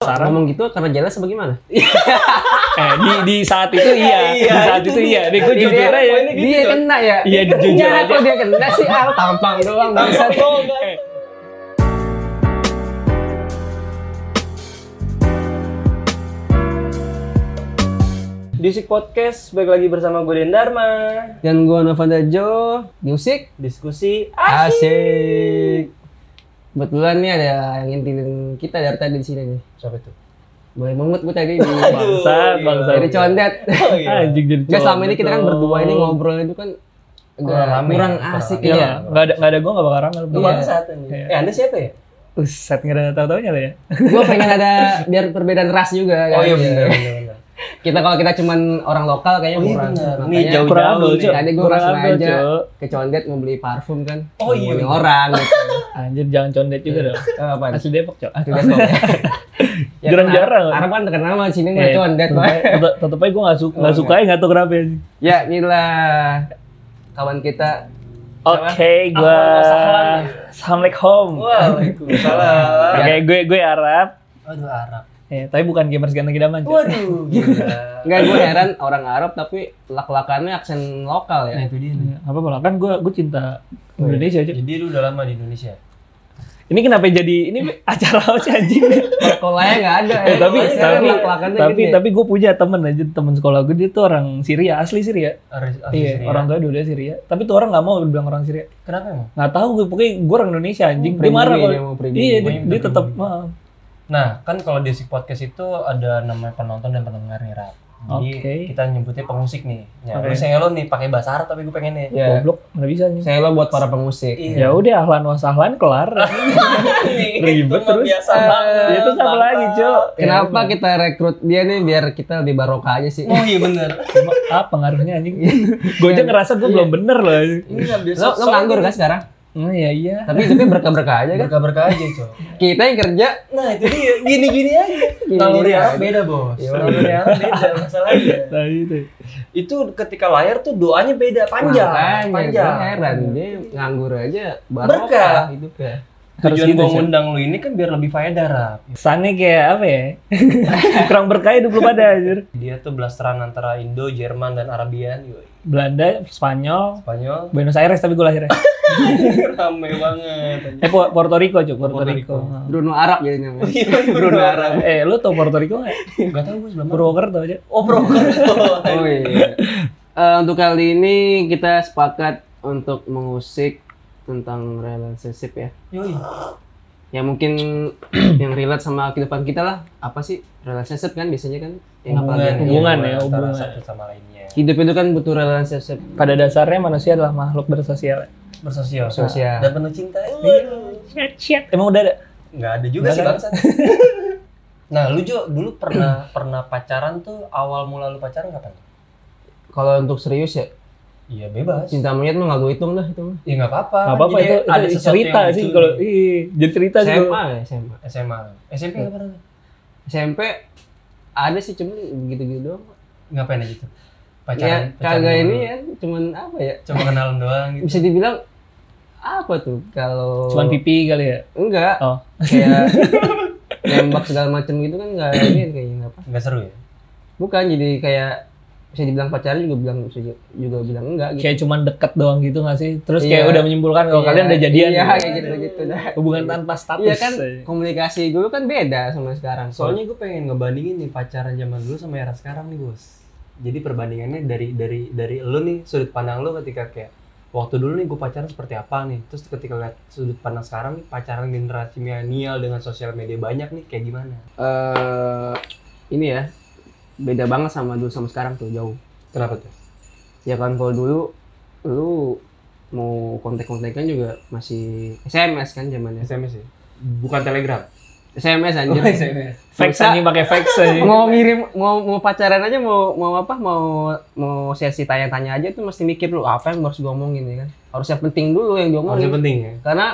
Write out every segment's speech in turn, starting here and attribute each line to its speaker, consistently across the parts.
Speaker 1: saran.
Speaker 2: ngomong gitu karena jelas apa gimana?
Speaker 1: Eh, di di saat itu iya, di
Speaker 3: Iya,
Speaker 1: saat
Speaker 3: itu
Speaker 1: itu
Speaker 3: dia. gitu.
Speaker 1: iya. Deh, gue
Speaker 2: Dia-
Speaker 1: jujur aja.
Speaker 2: dia, dia kena ya?
Speaker 1: Iya,
Speaker 2: Dia
Speaker 1: jujur
Speaker 2: kena.
Speaker 1: aja.
Speaker 2: Kalau dia kena sih al tampang doang.
Speaker 3: Tampang
Speaker 2: bangsat.
Speaker 3: doang, kan?
Speaker 1: Eh,
Speaker 3: Disik Podcast, balik lagi bersama gue Den Dharma.
Speaker 2: Dan gua Novanda Jo, musik
Speaker 3: Diskusi
Speaker 2: asik. Kebetulan nih ada yang intilin kita dari tadi di sini nih.
Speaker 3: Siapa itu?
Speaker 2: Boleh mungut gue tadi di
Speaker 1: Bangsa,
Speaker 3: Aduh,
Speaker 1: bangsa.
Speaker 2: dari condet.
Speaker 3: Oh, iya.
Speaker 1: Anjing jadi.
Speaker 2: Nggak selama ini
Speaker 1: cowok
Speaker 2: kita kan
Speaker 1: gitu.
Speaker 2: berdua ini ngobrol itu kan agak
Speaker 3: Kurang rame,
Speaker 2: kurang
Speaker 3: kurang
Speaker 2: asik
Speaker 3: rame.
Speaker 1: Iya,
Speaker 2: ya.
Speaker 1: nggak ada nggak ada gue nggak bakal rame. lu
Speaker 3: Lu
Speaker 1: berdua.
Speaker 2: Iya.
Speaker 3: bangsat, anjing.
Speaker 1: Iya.
Speaker 3: Eh, Anda siapa ya?
Speaker 1: Usat nggak ada tahu-taunya lah ya.
Speaker 2: Gue pengen ada biar perbedaan ras juga.
Speaker 1: Oh,
Speaker 2: kan.
Speaker 1: iya,
Speaker 3: Iya, benar.
Speaker 2: Kita kalau kita cuman orang lokal kayaknya
Speaker 3: Oh, iya,
Speaker 2: kurang.
Speaker 3: bener. Nih,
Speaker 2: Makanya
Speaker 3: jauh-jauh
Speaker 1: Kurang lo,
Speaker 3: nih.
Speaker 1: Cok.
Speaker 2: tadi gue
Speaker 1: Kurang
Speaker 2: langsung
Speaker 1: lo,
Speaker 2: aja
Speaker 1: Cok.
Speaker 2: ke Condet mau beli parfum kan.
Speaker 3: Oh, iya,
Speaker 2: Ngomongin
Speaker 3: bener.
Speaker 2: orang gitu.
Speaker 1: Anjir, jangan condet juga dong.
Speaker 2: Eh, Apaan?
Speaker 1: Asli Depok, Cok.
Speaker 2: Asli Depok ya. Ya, kan,
Speaker 1: Jarang-jarang.
Speaker 2: Arab kan terkenal sama sini mah
Speaker 1: Eh,
Speaker 2: Condet. Iya.
Speaker 1: tetep aja- tetep- Tetep aja gue nggak suka, nggak suka ya nggak tahu kenapa. ya.
Speaker 2: Ya inilah kawan kita
Speaker 1: Oke, gue
Speaker 2: ya.
Speaker 3: Ahlan,
Speaker 1: Assalamualaikum.
Speaker 3: Waalaikumsalam.
Speaker 1: Oke, gue
Speaker 2: Iya.
Speaker 1: gue Arab.
Speaker 3: Aduh, Arab.
Speaker 1: Eh, tapi bukan gamers ganteng idaman. Cok.
Speaker 3: Waduh, gila.
Speaker 2: Enggak gue heran orang Arab tapi lak-lakannya aksen lokal ya.
Speaker 3: Nah, itu dia. nih.
Speaker 1: Ya, apa apa kan gue gue cinta Indonesia aja.
Speaker 3: Jadi lu udah lama di Indonesia?
Speaker 1: Ini kenapa jadi ini acara apa sih anjing?
Speaker 2: Sekolahnya enggak ada.
Speaker 1: Eh, tapi
Speaker 2: Makanya
Speaker 1: tapi
Speaker 2: lak-lakannya
Speaker 1: tapi
Speaker 2: gede.
Speaker 1: tapi gue punya temen aja temen sekolah gue dia tuh orang Syria asli Syria.
Speaker 3: Aris,
Speaker 1: iya orang tua dua Syria. Tapi tuh orang nggak mau bilang orang Syria.
Speaker 3: Kenapa emang?
Speaker 1: Nggak tahu gue pokoknya gue orang Indonesia anjing. dia
Speaker 2: pribumi,
Speaker 1: marah
Speaker 2: dia
Speaker 1: kalau
Speaker 2: mau pribumi.
Speaker 1: iya dia,
Speaker 3: Pribumi,
Speaker 1: dia
Speaker 3: pribumi.
Speaker 1: tetap maaf.
Speaker 3: Nah, kan kalau di Sik podcast itu ada namanya penonton dan pendengar nih, Rap. Jadi
Speaker 1: Oke.
Speaker 3: kita nyebutnya pengusik nih. Ya, lu
Speaker 1: Oke.
Speaker 3: saya lo nih pakai bahasa Arab tapi gue pengen nih.
Speaker 2: Ya.
Speaker 1: Goblok nggak bisa nih.
Speaker 2: Saya lo buat para pengusik.
Speaker 3: Iya.
Speaker 1: Ya udah ahlan wa sahlan kelar. Ribet terus.
Speaker 3: Biasa banget.
Speaker 1: Ya itu siapa lagi, Cok?
Speaker 2: Kenapa kita rekrut dia nih biar kita lebih barokah aja sih?
Speaker 3: Oh iya bener.
Speaker 1: Emang ah, pengaruhnya anjing. gue aja ngerasa gue belum bener loh. anjing.
Speaker 2: Iya.
Speaker 3: Ini nggak Iya, biasa.
Speaker 2: Lo, lo nganggur kan sekarang?
Speaker 1: Hmm, ya iya.
Speaker 2: Tapi hidupnya berkah-berkah aja kan?
Speaker 3: Berkah-berkah aja, Cok.
Speaker 2: Kita yang kerja
Speaker 3: Nah, itu dia. Gini-gini aja.
Speaker 2: Gini-gini
Speaker 3: Kalau di
Speaker 2: aja.
Speaker 3: Arab beda, Bos.
Speaker 2: Iya.
Speaker 3: Kalau di Arab beda masalahnya.
Speaker 1: Nah, itu.
Speaker 3: Itu ketika layar tuh doanya beda, panjang,
Speaker 2: Makanya,
Speaker 3: panjang.
Speaker 2: gua Heran dia nganggur aja
Speaker 3: Berkah.
Speaker 2: barokah hidupnya.
Speaker 1: Harus
Speaker 3: Tujuan
Speaker 1: gitu,
Speaker 3: gua
Speaker 1: Cok.
Speaker 3: ngundang lu ini kan biar lebih faedah, Rap.
Speaker 1: Sange kayak apa ya? Kurang berkah hidup lu pada anjir.
Speaker 3: Dia tuh belasteran antara Indo, Jerman, dan Arabian. Yoi.
Speaker 1: Belanda, Spanyol,
Speaker 3: Spanyol,
Speaker 1: Buenos Aires tapi gue lahirnya.
Speaker 3: rame banget.
Speaker 1: Eh Pu- Puerto Rico, Cuk, Puerto,
Speaker 3: Puerto
Speaker 1: Rico.
Speaker 3: Rico.
Speaker 2: Bruno Arab jadinya.
Speaker 3: Oh, iya.
Speaker 2: Mas.
Speaker 3: Bruno Arab.
Speaker 1: Eh, lu tau Puerto Rico nggak?
Speaker 3: Gak tau gue sebelum
Speaker 1: Purwokerto aja.
Speaker 3: Oh, Purwokerto.
Speaker 2: Oh iya. Eh, untuk kali ini kita sepakat untuk mengusik tentang relationship ya.
Speaker 3: Yoi.
Speaker 2: Ya mungkin yang relate sama kehidupan kita lah. Apa sih relationship kan biasanya kan? Yang apalagi-
Speaker 1: hubungan ya,
Speaker 3: antara
Speaker 1: hubungan.
Speaker 3: Satu sama lainnya.
Speaker 2: Hidup itu kan butuh relationship.
Speaker 1: Pada dasarnya manusia adalah makhluk bersosial.
Speaker 3: Bersosial.
Speaker 2: Sosial.
Speaker 3: Dan penuh cinta.
Speaker 1: Shit, emang udah ada.
Speaker 3: Gak ada juga
Speaker 1: Nggak
Speaker 3: sih
Speaker 1: ada.
Speaker 3: bangsa. Nah, lu Jo, dulu pernah pernah pacaran tuh awal mula lu pacaran kapan?
Speaker 2: Kalau untuk serius ya,
Speaker 3: Iya, bebas.
Speaker 2: cinta monyet mah nggak gue hitung lah itu mah.
Speaker 3: Ya nggak apa-apa.
Speaker 1: Gak apa-apa
Speaker 3: Jadi
Speaker 1: itu,
Speaker 3: ada
Speaker 1: itu
Speaker 3: sesuatu
Speaker 1: cerita
Speaker 3: yang lucu
Speaker 1: sih
Speaker 3: nih.
Speaker 1: kalau iya, jadi cerita sih. kalau-
Speaker 2: SMA ya, SMA.
Speaker 3: SMA. SMP nggak pernah. tuh?
Speaker 2: SMP ada sih cuman gitu-gitu doang.
Speaker 3: Ngapain aja tuh? Pacaran.
Speaker 2: Ya
Speaker 3: pacaran
Speaker 2: kagak
Speaker 3: doang.
Speaker 2: ini ya, cuman apa ya?
Speaker 3: Cuma kenalan doang gitu.
Speaker 2: Bisa dibilang apa tuh kalau
Speaker 1: Cuman pipi kali ya.
Speaker 2: enggak
Speaker 1: Oh.
Speaker 2: kayak nembak segala macam gitu kan nggak ini kayaknya nggak apa
Speaker 3: Nggak seru ya?
Speaker 2: bukan jadi kayak bisa dibilang pacaran juga bilang bisa ju- juga bilang enggak gitu
Speaker 1: Kayak cuman deket doang gitu nggak sih? Terus kayak
Speaker 2: Iya.
Speaker 1: udah menyimpulkan kalau
Speaker 2: Iya,
Speaker 1: kalian udah jadian.
Speaker 2: iya
Speaker 1: gitu.
Speaker 2: kayak gitu gitu dah
Speaker 1: Hubungan tanpa status. eh.
Speaker 2: iya kan komunikasi dulu kan beda sama sekarang
Speaker 3: Soalnya gue pengen ngebandingin nih pacaran zaman dulu sama era sekarang nih bos. Jadi perbandingannya dari dari dari lo nih sudut pandang lo ketika kayak waktu dulu nih gue pacaran seperti apa nih. Terus ketika lihat sudut pandang sekarang nih pacaran generasi milenial dengan sosial media banyak nih kayak gimana?
Speaker 2: eh ini ya beda banget sama dulu sama sekarang tuh jauh
Speaker 3: Kenapa tuh?
Speaker 2: ya kan kalau dulu lu mau kontak-kontakan juga masih SMS kan zamannya
Speaker 3: SMS ya? Bukan Telegram.
Speaker 2: SMS
Speaker 3: Oh,
Speaker 2: anjir
Speaker 3: SMS.
Speaker 1: Fax
Speaker 2: Bisa.
Speaker 1: anjing pakai fax anjing.
Speaker 2: mau ngirim mau mau pacaran aja mau mau apa mau mau sesi tanya-tanya aja tuh mesti mikir dulu apa yang harus gue omongin ya kan harus yang penting dulu yang
Speaker 3: Harusnya
Speaker 2: diomongin
Speaker 3: penting ya.
Speaker 2: karena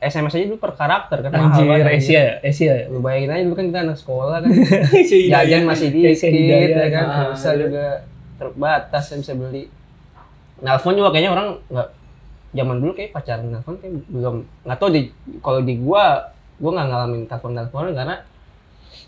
Speaker 2: SMS aja dulu per karakter kan mahal
Speaker 1: Anjir,
Speaker 2: banget,
Speaker 1: Asia ya, Asia ya.
Speaker 2: anjir. lu bayangin aja dulu kan kita anak sekolah kan jajan
Speaker 3: Iya, Jajan
Speaker 2: masih
Speaker 1: Kayak
Speaker 2: dikit
Speaker 1: Hidayat,
Speaker 2: ya kan
Speaker 3: ah,
Speaker 2: bisa
Speaker 3: iya.
Speaker 2: juga terbatas yang bisa beli nelfon juga kayaknya orang nggak zaman dulu kayak pacaran nelfon kayak belum nggak tau di kalau di gua gua nggak ngalamin telepon teleponan karena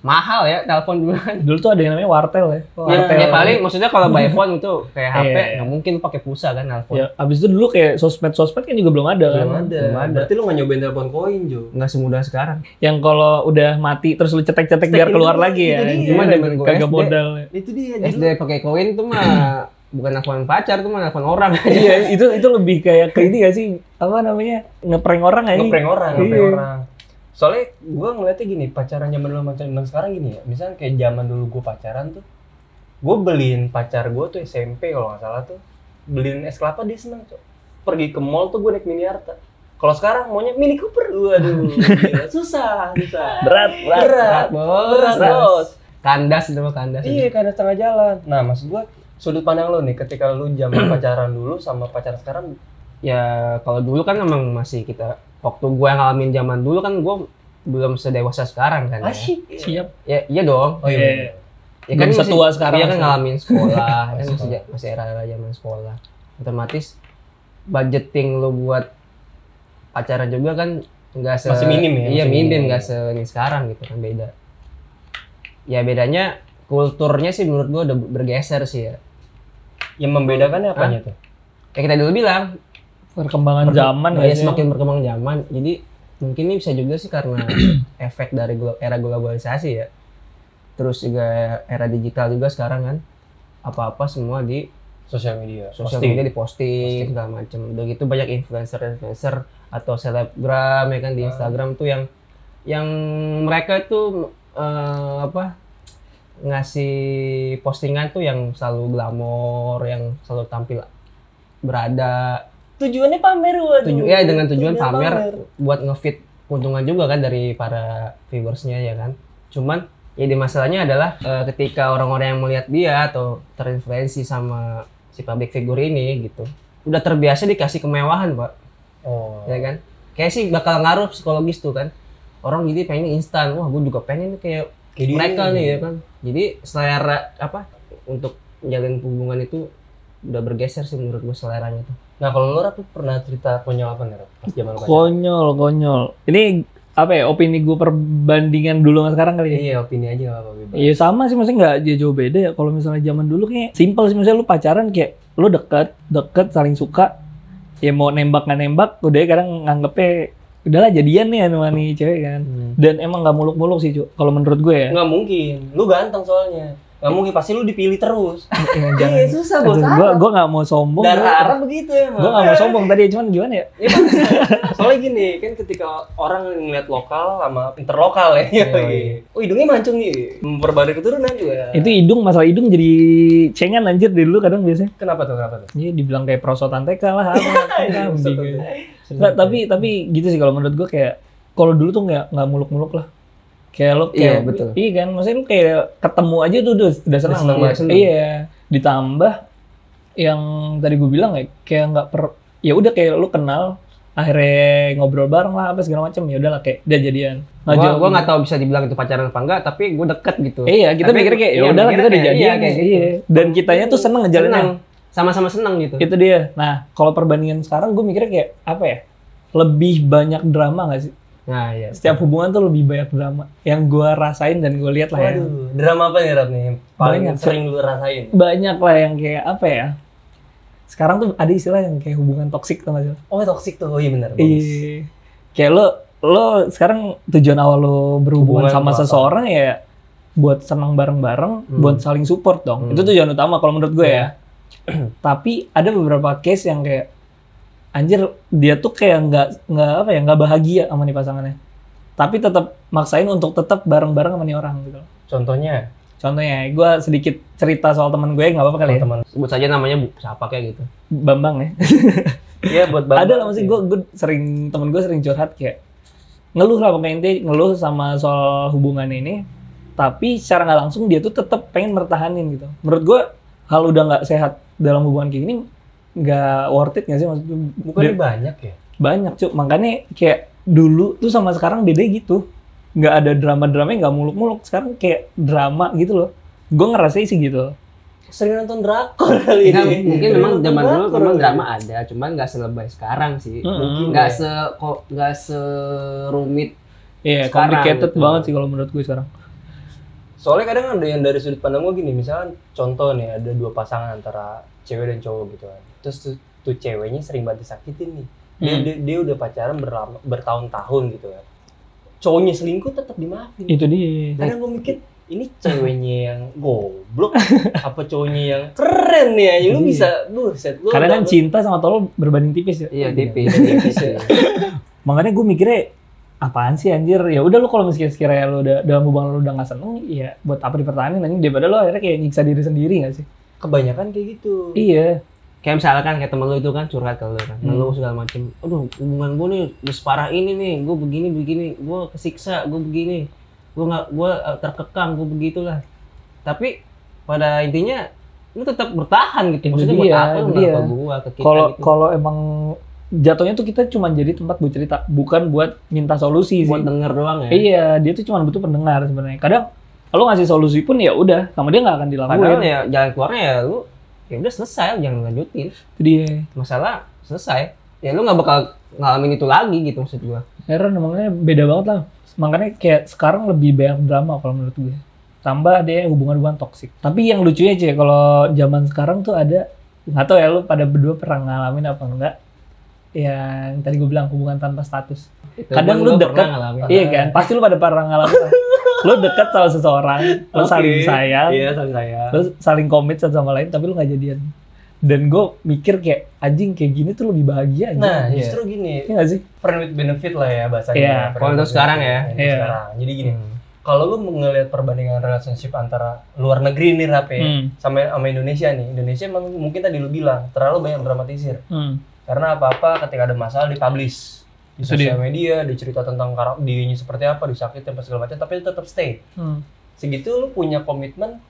Speaker 2: mahal ya telepon dulu
Speaker 1: Dulu tuh ada yang namanya wartel ya.
Speaker 2: Ya,
Speaker 1: Wartel.
Speaker 2: ya paling maksudnya kalau by phone itu kayak
Speaker 1: Iya,
Speaker 2: HP
Speaker 1: iya, iya.
Speaker 2: nggak mungkin pakai pulsa kan nelpon.
Speaker 1: Ya, abis itu dulu kayak sosmed-sosmed kan juga belum ada kan.
Speaker 3: Belum ada.
Speaker 2: Belum ada.
Speaker 3: Berarti lu nggak nyobain telepon koin, Jo.
Speaker 2: Nggak semudah sekarang.
Speaker 1: Yang kalau udah mati terus lu cetek-cetek biar
Speaker 3: Cetekin
Speaker 1: keluar
Speaker 3: dulu,
Speaker 1: lagi ya.
Speaker 3: itu dia.
Speaker 1: Gimana
Speaker 2: Zaman gua
Speaker 1: kagak
Speaker 2: SD.
Speaker 1: modal. ya.
Speaker 3: Itu dia.
Speaker 2: Iya.
Speaker 3: Jadi
Speaker 2: SD pakai koin tuh mah bukan nelfon pacar tuh mah nelfon orang aja.
Speaker 1: Iya, itu itu lebih kayak ke ini gak sih? Apa namanya? Ngeprank orang aja.
Speaker 3: ngeprank orang,
Speaker 1: Iya.
Speaker 3: ngeprank orang. Soalnya gue ngeliatnya gini, pacaran zaman dulu sama zaman sekarang gini ya. Misalnya kayak zaman dulu gue pacaran tuh, gue beliin pacar gue tuh SMP kalau nggak salah tuh, beliin es kelapa dia seneng cok. Pergi ke mall tuh gue naik mini harta. Kalau sekarang maunya mini cooper, waduh, gila. susah, susah.
Speaker 1: Berat.
Speaker 3: Berat,
Speaker 2: Bos.
Speaker 3: berat, bos.
Speaker 2: Kandas itu mah kandas.
Speaker 3: Iya, karena setengah jalan. Nah, maksud gue sudut pandang lo nih, ketika lu zaman pacaran dulu sama pacaran sekarang,
Speaker 2: Ya kalau dulu kan emang masih kita waktu gua ngalamin zaman dulu kan gua belum sedewasa sekarang kan. Ya,
Speaker 3: asyik.
Speaker 1: Siap.
Speaker 2: ya iya dong.
Speaker 3: Oh
Speaker 1: Iya.
Speaker 3: iya.
Speaker 2: Ya
Speaker 1: Belum
Speaker 2: masih-
Speaker 1: setua sekarang
Speaker 2: Iya kan
Speaker 1: masih.
Speaker 2: ngalamin sekolah, kan
Speaker 3: Masih
Speaker 2: masih masih era-era zaman sekolah. Otomatis budgeting lu buat acara juga kan nggak se
Speaker 3: Masih minim ya,
Speaker 2: Iya
Speaker 3: masih
Speaker 2: minim
Speaker 3: minim.
Speaker 2: nggak se ini sekarang gitu kan beda. Ya bedanya kulturnya sih menurut gua udah bergeser sih ya.
Speaker 3: Yang membedakannya apanya tuh?
Speaker 2: Ya kita dulu bilang
Speaker 1: Perkembangan zaman
Speaker 2: ya
Speaker 1: gak sih?
Speaker 2: semakin berkembang zaman. Jadi mungkin ini bisa juga sih karena efek dari glo- era globalisasi ya. Terus juga era digital juga sekarang kan apa-apa semua di
Speaker 3: sosial media
Speaker 2: sosial
Speaker 3: Pasti.
Speaker 2: media diposting
Speaker 3: Iya. Posting.
Speaker 2: segala macam udah gitu banyak influencer influencer atau selebgram ya kan di
Speaker 3: Ah.
Speaker 2: Instagram tuh yang yang mereka tuh eh, apa ngasih postingan tuh yang selalu glamor yang selalu tampil berada
Speaker 3: tujuannya pamer waduh
Speaker 2: Tuju- ya, dengan tujuan pamer. buat ngefit keuntungan juga kan dari para viewersnya ya kan cuman ya di masalahnya adalah eh, ketika orang-orang yang melihat dia atau terinfluensi sama si public figure ini gitu udah terbiasa dikasih kemewahan pak
Speaker 3: oh
Speaker 2: ya kan kayak sih bakal ngaruh psikologis tuh kan orang jadi pengen instan wah gue juga pengen nih kayak
Speaker 3: Kayak dia
Speaker 2: mereka
Speaker 3: ini.
Speaker 2: nih ya kan jadi selera apa untuk menjalin hubungan itu udah bergeser sih menurut gue seleranya tuh
Speaker 3: nah kalau lo Rap, lu pernah cerita konyol apa nih Rap? pas zaman lu pacaran?
Speaker 1: Konyol, konyol. Ini apa ya opini gue perbandingan dulu sama sekarang kali ya?
Speaker 3: iya opini aja nggak apa-apa bebas
Speaker 1: Iya sama sih maksudnya nggak jauh- jauh beda ya kalau misalnya zaman dulu kayak simpel sih misalnya lu pacaran kayak lu deket deket saling suka ya mau nembak nggak nembak udah ya kadang nganggepnya udahlah jadian nih sama nih cewek kan
Speaker 2: Hmm.
Speaker 1: dan emang nggak muluk-muluk sih Cuk. kalau menurut gue ya
Speaker 3: Iya. nggak mungkin lu ganteng soalnya nggak mungkin pasti lu dipilih terus
Speaker 1: Iya, jangan
Speaker 3: iya susah bos
Speaker 1: Aduh, gue gue nggak mau sombong
Speaker 3: darah
Speaker 1: gue
Speaker 3: Arab begitu ya, emang
Speaker 1: gue nggak mau sombong tadi cuman gimana ya
Speaker 3: Iya, pasti. soalnya gini kan ketika orang ngeliat lokal sama interlokal ya
Speaker 2: Iya, iya.
Speaker 3: oh hidungnya mancung nih memperbarui keturunan juga
Speaker 1: itu hidung masalah hidung jadi cengan anjir dari dulu kadang biasanya
Speaker 3: kenapa tuh kenapa tuh gitu?
Speaker 1: Iya dibilang kayak prosotan TK lah apa
Speaker 3: Iya,
Speaker 1: gitu.
Speaker 3: Maksud
Speaker 1: kambing.
Speaker 3: tuh?
Speaker 1: Nggak, tapi tapi gitu sih kalau menurut gue kayak kalau dulu tuh nggak nggak muluk-muluk lah. Kayak lo kayak
Speaker 2: Iya, betul.
Speaker 1: Iya kan, maksudnya lu kayak ketemu aja tuh udah, udah senang.
Speaker 2: senang
Speaker 1: Iya,
Speaker 2: banget, senang.
Speaker 1: Iya, ditambah yang tadi gue bilang ya kayak nggak per ya udah kayak lu kenal akhirnya ngobrol bareng lah apa segala macam ya udahlah kayak udah jadian. Nggak
Speaker 2: gue
Speaker 1: jauh.
Speaker 2: gue nggak tahu bisa dibilang itu pacaran apa enggak tapi gue deket gitu
Speaker 1: Iya, kita
Speaker 2: Tapi-
Speaker 1: mikirnya kayak ya
Speaker 2: iya,
Speaker 1: udahlah kita
Speaker 2: mikirnya
Speaker 1: udah
Speaker 2: kayak-
Speaker 1: jadian.
Speaker 2: iya, kayak
Speaker 1: iya. Dan kitanya tuh seneng ngejalanin
Speaker 2: senang sama-sama senang gitu
Speaker 1: itu dia nah kalau perbandingan sekarang gue mikirnya kayak apa ya lebih banyak drama gak sih
Speaker 2: nah iya
Speaker 1: setiap hubungan tuh lebih banyak drama yang gue rasain dan gue lihat lah ya
Speaker 3: Waduh, drama apa nih Rap nih? yang Paling
Speaker 1: Banyak.
Speaker 3: sering lu rasain.
Speaker 1: banyak lah yang kayak apa ya sekarang tuh ada istilah yang kayak hubungan toksik tuh gak sih
Speaker 3: Oh, toxic tuh. Oh iya benar. bagus.
Speaker 1: iya kayak lo lo sekarang tujuan awal lo berhubungan
Speaker 3: Hubungan
Speaker 1: sama
Speaker 3: apa?
Speaker 1: seseorang ya buat senang bareng-bareng
Speaker 2: Hmm.
Speaker 1: buat saling support dong
Speaker 2: Hmm.
Speaker 1: itu tujuan utama kalau menurut gue ya tapi ada beberapa case yang kayak anjir dia tuh kayak nggak nggak apa ya nggak bahagia sama nih pasangannya tapi tetap maksain untuk tetap bareng-bareng sama nih orang gitu
Speaker 3: Contohnya,
Speaker 1: contohnya gue sedikit cerita soal teman gue nggak apa-apa kali ya
Speaker 3: teman-teman.
Speaker 2: sebut saja namanya Bu- siapa kayak gitu
Speaker 1: Bambang ya
Speaker 3: Iya, buat
Speaker 1: ada lah maksudnya gue sering temen gue sering curhat kayak ngeluh lah pokoknya intinya ngeluh sama soal hubungan ini tapi secara nggak langsung dia tuh tetap pengen mertahanin gitu menurut gue hal udah nggak sehat dalam hubungan kayak gini nggak worth it nggak sih maksudnya
Speaker 3: Bukannya banyak ya?
Speaker 1: banyak cuy makanya kayak dulu tuh sama sekarang beda gitu nggak ada drama dramanya nggak muluk-muluk sekarang kayak drama gitu loh gue ngerasain sih gitu
Speaker 3: Sering nonton drakor kali
Speaker 2: Nah,
Speaker 3: ini.
Speaker 2: mungkin
Speaker 3: Sering
Speaker 2: memang
Speaker 3: nonton
Speaker 2: zaman dulu
Speaker 3: drakor
Speaker 2: memang
Speaker 3: kali
Speaker 2: drama
Speaker 3: ini.
Speaker 2: ada, cuman nggak selebay sekarang sih.
Speaker 1: Mm-mm.
Speaker 2: Mungkin nggak
Speaker 3: ya.
Speaker 2: se kok nggak serumit.
Speaker 1: iya
Speaker 2: Sekarang
Speaker 1: complicated
Speaker 2: gitu.
Speaker 1: banget sih kalau menurut gue sekarang
Speaker 3: soalnya kadang ada yang dari sudut pandang gue gini misalkan contoh nih ada dua pasangan antara cewek dan cowok gitu kan terus tuh, tuh ceweknya sering banget disakitin nih dia,
Speaker 1: Hmm.
Speaker 3: dia, dia udah pacaran berlama, bertahun-tahun gitu kan cowoknya selingkuh tetap dimaafin
Speaker 1: itu dia
Speaker 3: Kadang gue mikir ini ceweknya yang goblok apa cowoknya yang keren nih anjing. lu
Speaker 1: Iya.
Speaker 3: bisa buset lu
Speaker 1: karena kan
Speaker 3: udah-
Speaker 1: cinta sama tolol berbanding tipis
Speaker 2: Iya,
Speaker 1: ya
Speaker 3: Iya.
Speaker 2: tipis. tipis ya.
Speaker 1: makanya gue mikirnya apaan sih anjir ya udah lu kalau misalnya sekiranya lu udah dalam hubungan lu udah nggak seneng ya buat apa dipertahankan anjing daripada lu akhirnya kayak nyiksa diri sendiri nggak sih
Speaker 3: kebanyakan kayak gitu
Speaker 1: iya
Speaker 2: Kayak misalkan kayak temen lu itu kan curhat ke lu kan,
Speaker 1: Hmm.
Speaker 2: lu segala macem. Aduh, hubungan gue nih udah separah ini nih, gue begini begini, gue kesiksa, gue begini, gue nggak, gue eh, terkekang, gue begitulah. Tapi pada intinya lu tetap bertahan gitu.
Speaker 1: Itu
Speaker 2: Maksudnya
Speaker 1: dia,
Speaker 2: buat apa lu
Speaker 1: itu
Speaker 2: kenapa
Speaker 1: dia.
Speaker 2: gua ke kita
Speaker 1: kalau
Speaker 2: gitu?
Speaker 1: kalau emang jatuhnya tuh kita cuma jadi tempat buat cerita bukan buat minta solusi
Speaker 2: buat
Speaker 1: sih
Speaker 2: denger doang ya.
Speaker 1: iya dia tuh cuma butuh pendengar sebenarnya kadang kalau ngasih solusi pun ya udah sama dia nggak akan
Speaker 2: Padahal
Speaker 1: dilakuin
Speaker 2: ya jalan keluarnya ya lu ya udah selesai, jangan lanjutin.
Speaker 1: itu dia
Speaker 2: Masalah selesai. Ya lu nggak bakal ngalamin itu lagi gitu maksud gua.
Speaker 1: Heran makanya beda banget lah. Makanya kayak sekarang lebih banyak drama kalau menurut gue. Tambah ada hubungan-hubungan toksik. Tapi yang lucunya aja kalau zaman sekarang tuh ada nggak tahu ya lu pada berdua pernah ngalamin apa enggak yang tadi gue bilang hubungan tanpa status.
Speaker 2: Itu
Speaker 1: Kadang
Speaker 2: pun
Speaker 1: lu
Speaker 2: gua
Speaker 1: deket-
Speaker 2: pernah ngalamin.
Speaker 1: Iya kan? Pasti lu pada pernah ngalamin. lah. lu dekat sama seseorang, lu
Speaker 3: Oke.
Speaker 1: saling sayang,
Speaker 3: iya sama saya
Speaker 1: lu saling komit satu sama lain tapi lu nggak jadian. Dan gue mikir kayak anjing kayak gini tuh lebih bahagia anjing.
Speaker 3: nah
Speaker 2: Iya.
Speaker 3: justru gini
Speaker 1: Iya nggak sih?
Speaker 3: friend with benefit lah ya bahasanya
Speaker 1: Iya.
Speaker 3: Friend
Speaker 2: Kalau
Speaker 3: with
Speaker 2: untuk sekarang
Speaker 3: benefit,
Speaker 2: ya.
Speaker 3: friend with
Speaker 1: Iya.
Speaker 3: sekarang. jadi gini kalau lu ngelihat perbandingan relationship antara luar negeri nih Rap ya,
Speaker 1: Hmm.
Speaker 3: sama sama Indonesia nih Indonesia emang mungkin tadi lu bilang terlalu banyak dramatisir
Speaker 1: Hmm.
Speaker 3: karena apa-apa ketika ada masalah dipublish di
Speaker 1: Itu dia.
Speaker 3: sosial media dicerita tentang karak dirinya seperti apa disakitin apa segala macam tapi lu tetap stay
Speaker 1: Hmm.
Speaker 3: segitu lu punya komitmen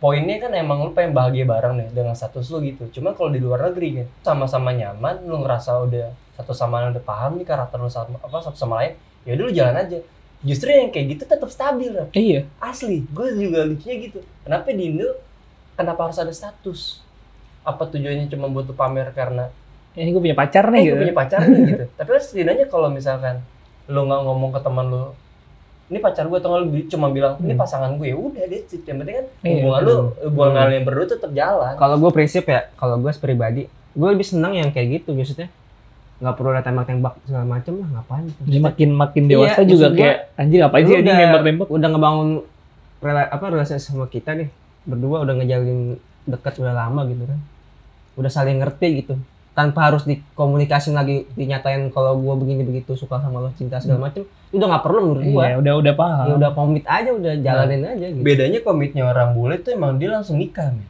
Speaker 3: poinnya kan emang lu pengen bahagia bareng nih dengan status lu gitu cuma kalau di luar negeri kan sama-sama nyaman lu ngerasa udah satu sama lain udah paham nih karakter lu sama apa satu sama lain ya udah lu jalan aja justru yang kayak gitu tetap stabil Raf.
Speaker 1: Iya.
Speaker 3: asli gue juga lucunya gitu kenapa di Indo kenapa harus ada status apa tujuannya cuma buat lu pamer karena
Speaker 1: Ini gue punya pacar
Speaker 3: eh,
Speaker 1: nih
Speaker 2: iya.
Speaker 3: gue
Speaker 1: gitu.
Speaker 3: punya pacar nih gitu tapi kan setidaknya kalau misalkan lu nggak ngomong ke teman lu ini pacar gue atau nggak lu bi- cuma bilang ini
Speaker 1: Hmm.
Speaker 3: pasangan gue ya udah deh yang penting kan
Speaker 1: Iya.
Speaker 3: hubungan lu hubungan
Speaker 2: Hmm.
Speaker 3: kalian berdua tetap jalan
Speaker 2: Kalau gue prinsip ya, kalau gue pribadi, gue lebih senang yang kayak gitu maksudnya. Nggak perlu ada tembak-tembak segala macem lah, ngapain? gitu.
Speaker 1: Jadi makin makin
Speaker 2: Iya,
Speaker 1: dewasa juga
Speaker 2: maksud gua,
Speaker 1: kayak anjir ngapain
Speaker 2: lu
Speaker 1: sih anjing
Speaker 2: udah-
Speaker 1: nembak-nembak?
Speaker 2: Udah ngebangun rela apa relasi sama kita nih, berdua udah ngejalin deket udah lama gitu kan. Udah saling ngerti gitu. Tanpa harus dikomunikasi lagi, dinyatain kalau gue begini begitu suka sama lo cinta segala macem, itu udah nggak perlu menurut gue.
Speaker 1: Iya, udah udah paham.
Speaker 2: Ya udah komit aja, udah jalanin aja gitu.
Speaker 3: bedanya komitnya orang bule tuh emang dia langsung nikah men.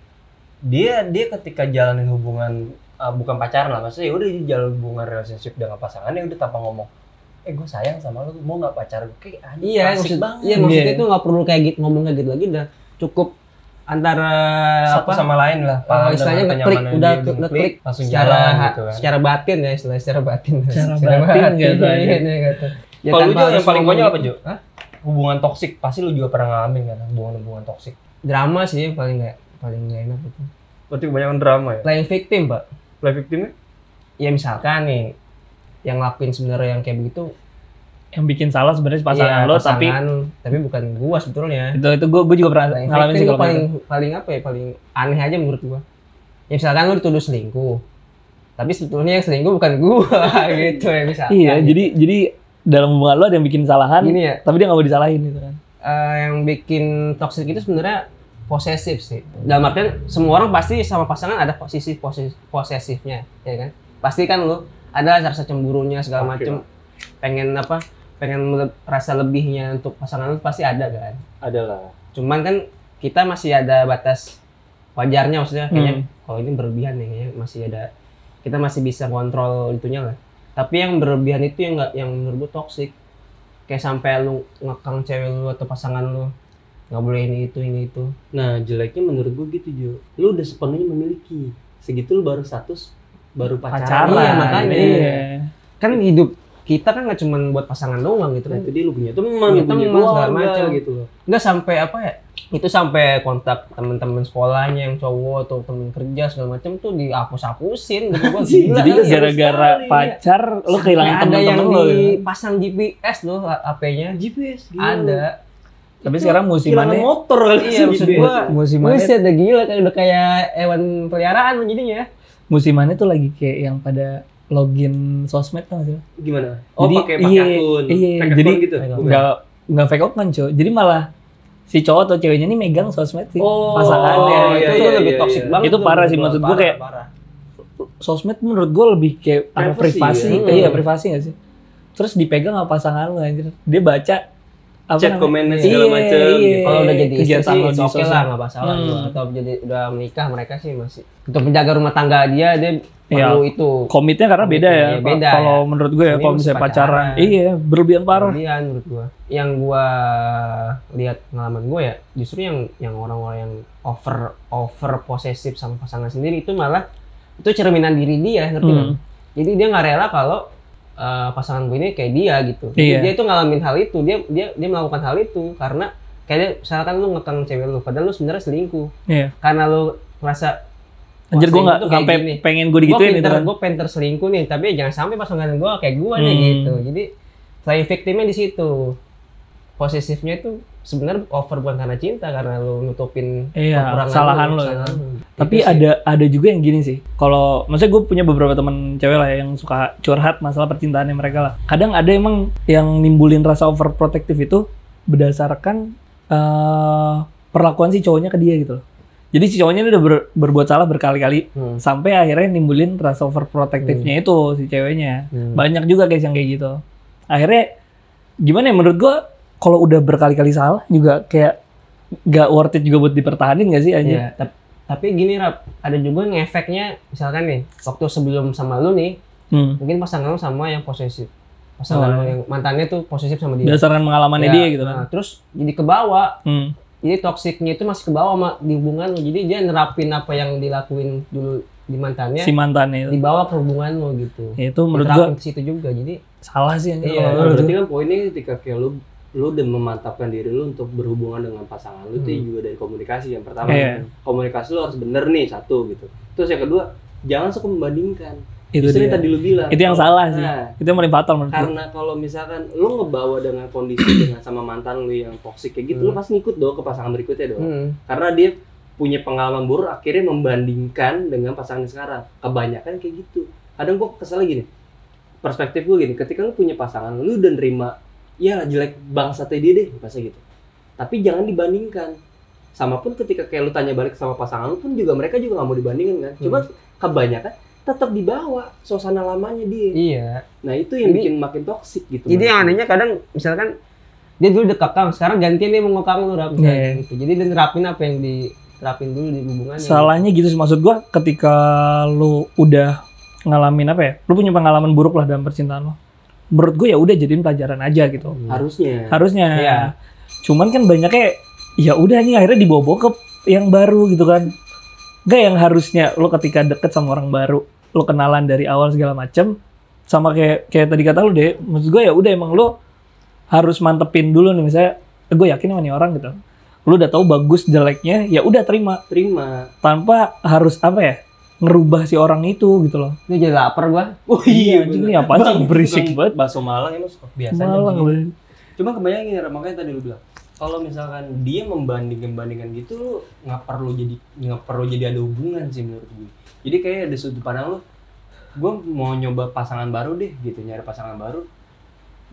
Speaker 3: dia dia ketika jalanin hubungan ah, bukan pacaran lah maksudnya ya udah dia jalan hubungan relationship dengan pasangannya udah tanpa ngomong eh gue sayang sama lu mau nggak pacar gue kayak anjing,
Speaker 2: Iya,
Speaker 3: klasik
Speaker 2: maksud,
Speaker 3: banget
Speaker 2: iya maksudnya
Speaker 1: Iya.
Speaker 2: itu nggak perlu kayak gitu ngomong kayak gitu lagi udah cukup antara
Speaker 3: satu
Speaker 2: apa
Speaker 3: sama lain lah
Speaker 2: Eh,
Speaker 3: dengan
Speaker 2: istilahnya ngeklik
Speaker 3: kenyamanan
Speaker 2: udah
Speaker 3: dia,
Speaker 2: ke-
Speaker 3: ngeklik,
Speaker 2: ngeklik
Speaker 3: langsung
Speaker 2: secara
Speaker 3: jalan gitu kan
Speaker 2: secara batin ya istilah secara batin
Speaker 1: Secara batin, gitu aja.
Speaker 2: iya, iya, gitu. Ya,
Speaker 3: Kalau lu
Speaker 2: tanpa
Speaker 3: Jo, yang
Speaker 2: harus
Speaker 3: paling
Speaker 2: ngomong
Speaker 3: konyol apa,
Speaker 2: gitu.
Speaker 3: Jo?
Speaker 2: Hah?
Speaker 3: hubungan toksik pasti lu juga pernah ngalamin kan hubungan-hubungan toksik
Speaker 2: drama sih yang paling nggak paling nggak enak itu
Speaker 3: berarti kebanyakan drama ya
Speaker 2: playing victim pak
Speaker 3: play victimnya
Speaker 2: ya misalkan nih yang lakuin sebenarnya yang kayak begitu
Speaker 1: Yang bikin salah sebenarnya si pasangan
Speaker 2: ya,
Speaker 1: lo tapi
Speaker 2: pasangan, tapi bukan gua sebetulnya
Speaker 1: itu itu gue gue juga pernah
Speaker 2: paling
Speaker 1: ngalamin
Speaker 2: victim
Speaker 1: sih
Speaker 2: tuh Nah,
Speaker 1: kalau
Speaker 2: paling
Speaker 1: paling
Speaker 2: paling apa ya paling aneh aja menurut gua ya misalkan lu dituduh selingkuh tapi sebetulnya yang selingkuh bukan gua gitu ya misalkan
Speaker 1: Iya, jadi kan jadi dalam hubungan lo ada yang bikin kesalahan
Speaker 2: gini ya
Speaker 1: tapi dia nggak mau disalahin gitu kan.
Speaker 2: eh, yang bikin toxic itu sebenarnya posesif sih dalam artian semua orang pasti sama pasangan ada posisi posisi posesifnya ya kan pasti kan lu ada rasa cemburunya segala
Speaker 3: Oke.
Speaker 2: macem pengen apa pengen mele- rasa lebihnya untuk pasangan lu pasti ada kan
Speaker 3: adalah
Speaker 2: cuman kan kita masih ada batas wajarnya maksudnya kayaknya
Speaker 1: Hmm.
Speaker 2: kalau ini berlebihan ya kayaknya masih ada kita masih bisa kontrol itunya lah tapi yang berlebihan itu yang nggak yang menurut gue toxic kayak sampai lu ngekang cewek lu atau pasangan lu nggak boleh ini itu ini itu
Speaker 3: nah jeleknya menurut gua gitu Jo lu udah sepenuhnya memiliki segitu lu baru status baru pacaran,
Speaker 2: Pacaran,
Speaker 1: Cara,
Speaker 2: iya, makanya.
Speaker 1: Iya.
Speaker 2: kan hidup kita kan nggak cuma buat pasangan doang gitu kan
Speaker 3: Nah, itu dia lu punya teman,
Speaker 2: Punya
Speaker 3: lu punya
Speaker 2: teman, segala
Speaker 3: keluarga
Speaker 2: macam.
Speaker 3: gitu loh.
Speaker 2: nggak sampai apa ya itu sampai kontak temen-temen sekolahnya yang cowok atau temen kerja segala macam tuh dihapus-hapusin gitu gua gila
Speaker 1: jadi
Speaker 2: kali ya.
Speaker 1: gara-gara
Speaker 3: sekali,
Speaker 1: pacar lo ya. kehilangan
Speaker 2: Sampai ada yang
Speaker 1: teman-teman lo. gitu.
Speaker 2: dipasang GPS loh HP-nya
Speaker 3: GPS
Speaker 2: ada
Speaker 1: Tapi sekarang
Speaker 4: Kehilangan
Speaker 1: musimannya
Speaker 4: motor kali
Speaker 3: Iya,
Speaker 4: sih,
Speaker 3: maksud
Speaker 4: Bi.
Speaker 3: gua.
Speaker 1: musimannya
Speaker 2: Buset, udah gila kan udah kayak hewan peliharaan lo jadinya. ya.
Speaker 1: musimannya tuh lagi kayak yang pada login sosmed kan sih?
Speaker 3: Gimana? Oh,
Speaker 1: Jadi,
Speaker 3: pakai pakai
Speaker 1: iya,
Speaker 3: akun.
Speaker 1: iya,
Speaker 3: Fake akun
Speaker 1: jadi
Speaker 3: gitu.
Speaker 2: nggak-
Speaker 3: Bukan?
Speaker 1: Enggak enggak fake account, cuy. Jadi malah si cowok atau ceweknya ini megang sosmed sih.
Speaker 3: Oh,
Speaker 1: pasangannya.
Speaker 3: iya,
Speaker 2: itu
Speaker 3: iya,
Speaker 2: lebih
Speaker 3: iya,
Speaker 2: toxic
Speaker 3: iya.
Speaker 2: banget.
Speaker 1: Itu
Speaker 2: tuh,
Speaker 1: parah
Speaker 2: menurut
Speaker 1: sih,
Speaker 2: gua.
Speaker 1: maksud gua
Speaker 2: Parah,
Speaker 1: kayak-
Speaker 2: parah.
Speaker 1: Sosmed menurut gue lebih kayak
Speaker 3: Privacy,
Speaker 1: ada privasi,
Speaker 3: ya?
Speaker 2: Hmm.
Speaker 1: Eh, iya privasi nggak sih? Terus dipegang sama pasangan lu anjir. Dia baca apa
Speaker 3: Chat komennya
Speaker 1: namanya?
Speaker 3: segala
Speaker 1: Iya,
Speaker 3: macam.
Speaker 1: iya.
Speaker 2: Kalau udah jadi istri
Speaker 1: Kegiatan
Speaker 2: sih,
Speaker 1: lo
Speaker 2: it's
Speaker 1: di
Speaker 2: oke
Speaker 1: sosial.
Speaker 2: lah, nggak masalah.
Speaker 1: Hmm.
Speaker 2: gua. Atau jadi udah menikah, mereka sih masih untuk menjaga rumah tangga dia, dia
Speaker 1: Iya.
Speaker 2: perlu itu.
Speaker 1: Komitnya karena beda ya.
Speaker 2: Iya, beda
Speaker 1: kalau menurut gue ya
Speaker 2: Ini
Speaker 1: kalau misalnya
Speaker 2: masih
Speaker 1: pacaran,
Speaker 2: pacaran.
Speaker 1: iya berlebihan parah.
Speaker 2: Kemudian menurut gua, yang gua lihat pengalaman gua ya, justru yang yang orang-orang yang over over posesif sama pasangan sendiri itu malah itu cerminan diri dia, ngerti nggak?
Speaker 1: Hmm.
Speaker 2: jadi dia nggak rela kalau uh, pasangan gue ini kayak dia gitu Jadi
Speaker 1: Iya.
Speaker 2: dia itu ngalamin hal itu dia dia dia melakukan hal itu karena kayak dia, misalkan lu ngekang cewek lu padahal lu sebenarnya selingkuh
Speaker 1: Iya.
Speaker 2: karena lu merasa
Speaker 1: Anjir gue
Speaker 2: selingkuh
Speaker 1: nggak
Speaker 2: tuh kayak
Speaker 1: sampai
Speaker 2: gini.
Speaker 1: pengen gue
Speaker 2: gue
Speaker 1: digituin itu
Speaker 2: pinter
Speaker 1: kan.
Speaker 2: gue pinter selingkuh nih tapi ya jangan sampai pasangan gue kayak gue nih
Speaker 1: Hmm.
Speaker 2: gitu jadi selain victimnya di situ posesifnya itu sebenarnya over bukan karena cinta karena lu nutupin
Speaker 1: Iya,
Speaker 2: kekurangan
Speaker 1: kesalahan lu ya.
Speaker 2: kesalahan lu.
Speaker 1: Tapi
Speaker 2: Itu Iya sih.
Speaker 1: ada ada juga yang gini sih. Kalau maksudnya gue punya beberapa teman cewek lah yang suka curhat masalah percintaannya mereka lah. Kadang ada emang yang nimbulin rasa overprotective itu berdasarkan eh, perlakuan si cowoknya ke dia gitu loh. Jadi si cowoknya ini udah ber- berbuat salah berkali-kali
Speaker 2: Hmm.
Speaker 1: sampai akhirnya nimbulin rasa overprotective-nya itu si ceweknya.
Speaker 2: Hmm.
Speaker 1: Banyak juga guys yang kayak gitu. Akhirnya gimana ya menurut gue kalau udah berkali-kali salah juga kayak gak worth it juga buat dipertahanin gak sih aja?
Speaker 2: Iya, tap- tapi gini Rap, ada juga yang efeknya misalkan nih, waktu sebelum sama lu nih,
Speaker 1: Hmm.
Speaker 2: mungkin pasangan lu sama yang posesif. Pasangan lu
Speaker 1: Oh,
Speaker 2: yang mantannya tuh posesif sama dia.
Speaker 1: Berdasarkan pengalamannya
Speaker 2: Ya,
Speaker 1: dia gitu kan.
Speaker 2: nah, terus jadi kebawa,
Speaker 1: Hmm.
Speaker 2: jadi toksiknya itu masih kebawa sama di hubungan lu. Jadi dia nerapin apa yang dilakuin dulu di mantannya,
Speaker 1: Si mantannya itu.
Speaker 2: dibawa ke hubungan lu gitu.
Speaker 1: Ya, itu menurut gua
Speaker 2: Diterapin ke situ juga. Jadi
Speaker 1: salah sih anjir,
Speaker 2: Iya,
Speaker 1: kalau
Speaker 3: Nah,
Speaker 1: menurut
Speaker 3: berarti
Speaker 1: gua.
Speaker 3: kan poinnya ketika kayak lu lu udah memantapkan diri lu untuk berhubungan dengan pasangan lu itu
Speaker 2: Hmm.
Speaker 3: juga dari komunikasi yang pertama
Speaker 1: Iya.
Speaker 3: komunikasi lu harus bener nih satu gitu terus yang kedua jangan suka membandingkan
Speaker 1: itu
Speaker 3: Justru
Speaker 1: dia.
Speaker 3: yang tadi lu bilang
Speaker 1: Itu yang salah sih.
Speaker 3: Nah,
Speaker 1: Itu yang paling fatal menurut gua.
Speaker 3: karena kalau misalkan lu ngebawa dengan kondisi dengan sama mantan lu yang toksik kayak gitu lu
Speaker 2: Hmm.
Speaker 3: pasti ngikut dong ke pasangan berikutnya dong
Speaker 2: hmm,
Speaker 3: karena dia punya pengalaman buruk akhirnya membandingkan dengan pasangan sekarang kebanyakan kayak gitu kadang gua kesel gini perspektif gua gini ketika lu punya pasangan lu udah nerima ya jelek bangsatnya dia deh bahasa gitu tapi jangan dibandingkan sama pun ketika kayak lu tanya balik sama pasangan lu pun juga mereka juga nggak mau dibandingin kan cuma
Speaker 1: Hmm.
Speaker 3: kebanyakan tetap dibawa suasana lamanya dia
Speaker 2: iya.
Speaker 3: nah itu yang
Speaker 2: Jadi-
Speaker 3: bikin makin toksik gitu
Speaker 2: Jadi yang
Speaker 3: menurut
Speaker 2: anehnya kadang misalkan dia dulu udah kekang, sekarang gantian dia mau ngekang lu Rap.
Speaker 1: Iya, iya.
Speaker 2: gitu. Jadi dia nerapin apa yang diterapin dulu di hubungannya.
Speaker 1: Salahnya gitu sih maksud gua ketika lu udah ngalamin apa ya? Lu punya pengalaman buruk lah dalam percintaan lo. Menurut gua ya udah jadiin pelajaran aja gitu.
Speaker 3: gua. harusnya
Speaker 1: Harusnya.
Speaker 2: Iya.
Speaker 1: Cuman kan banyaknya ya udah nih akhirnya dibawa ke yang baru gitu kan. Gak yang harusnya lo ketika deket sama orang baru, lo kenalan dari awal segala macem, sama kayak kayak tadi kata lo deh, maksud gue ya udah emang lo harus mantepin dulu nih misalnya, gue yakin sama nih orang gitu. Lo udah tahu bagus jeleknya, ya udah terima
Speaker 3: terima
Speaker 1: tanpa harus apa ya ngerubah si orang itu gitu loh.
Speaker 2: Lu jadi lapar gua.
Speaker 3: oh
Speaker 1: Iya, ini apa sih berisik banget.
Speaker 3: bakso malang emang suka biasanya
Speaker 1: Malang
Speaker 3: begitu.
Speaker 1: lo.
Speaker 3: Cuma kebayang gini, Ra, makanya tadi lu bilang kalau misalkan dia membanding-bandingkan gitu lu nggak perlu jadi nggak perlu jadi ada hubungan sih menurut gue. Jadi kayak ada sudut pandang lu gue mau nyoba pasangan baru deh gitu nyari pasangan baru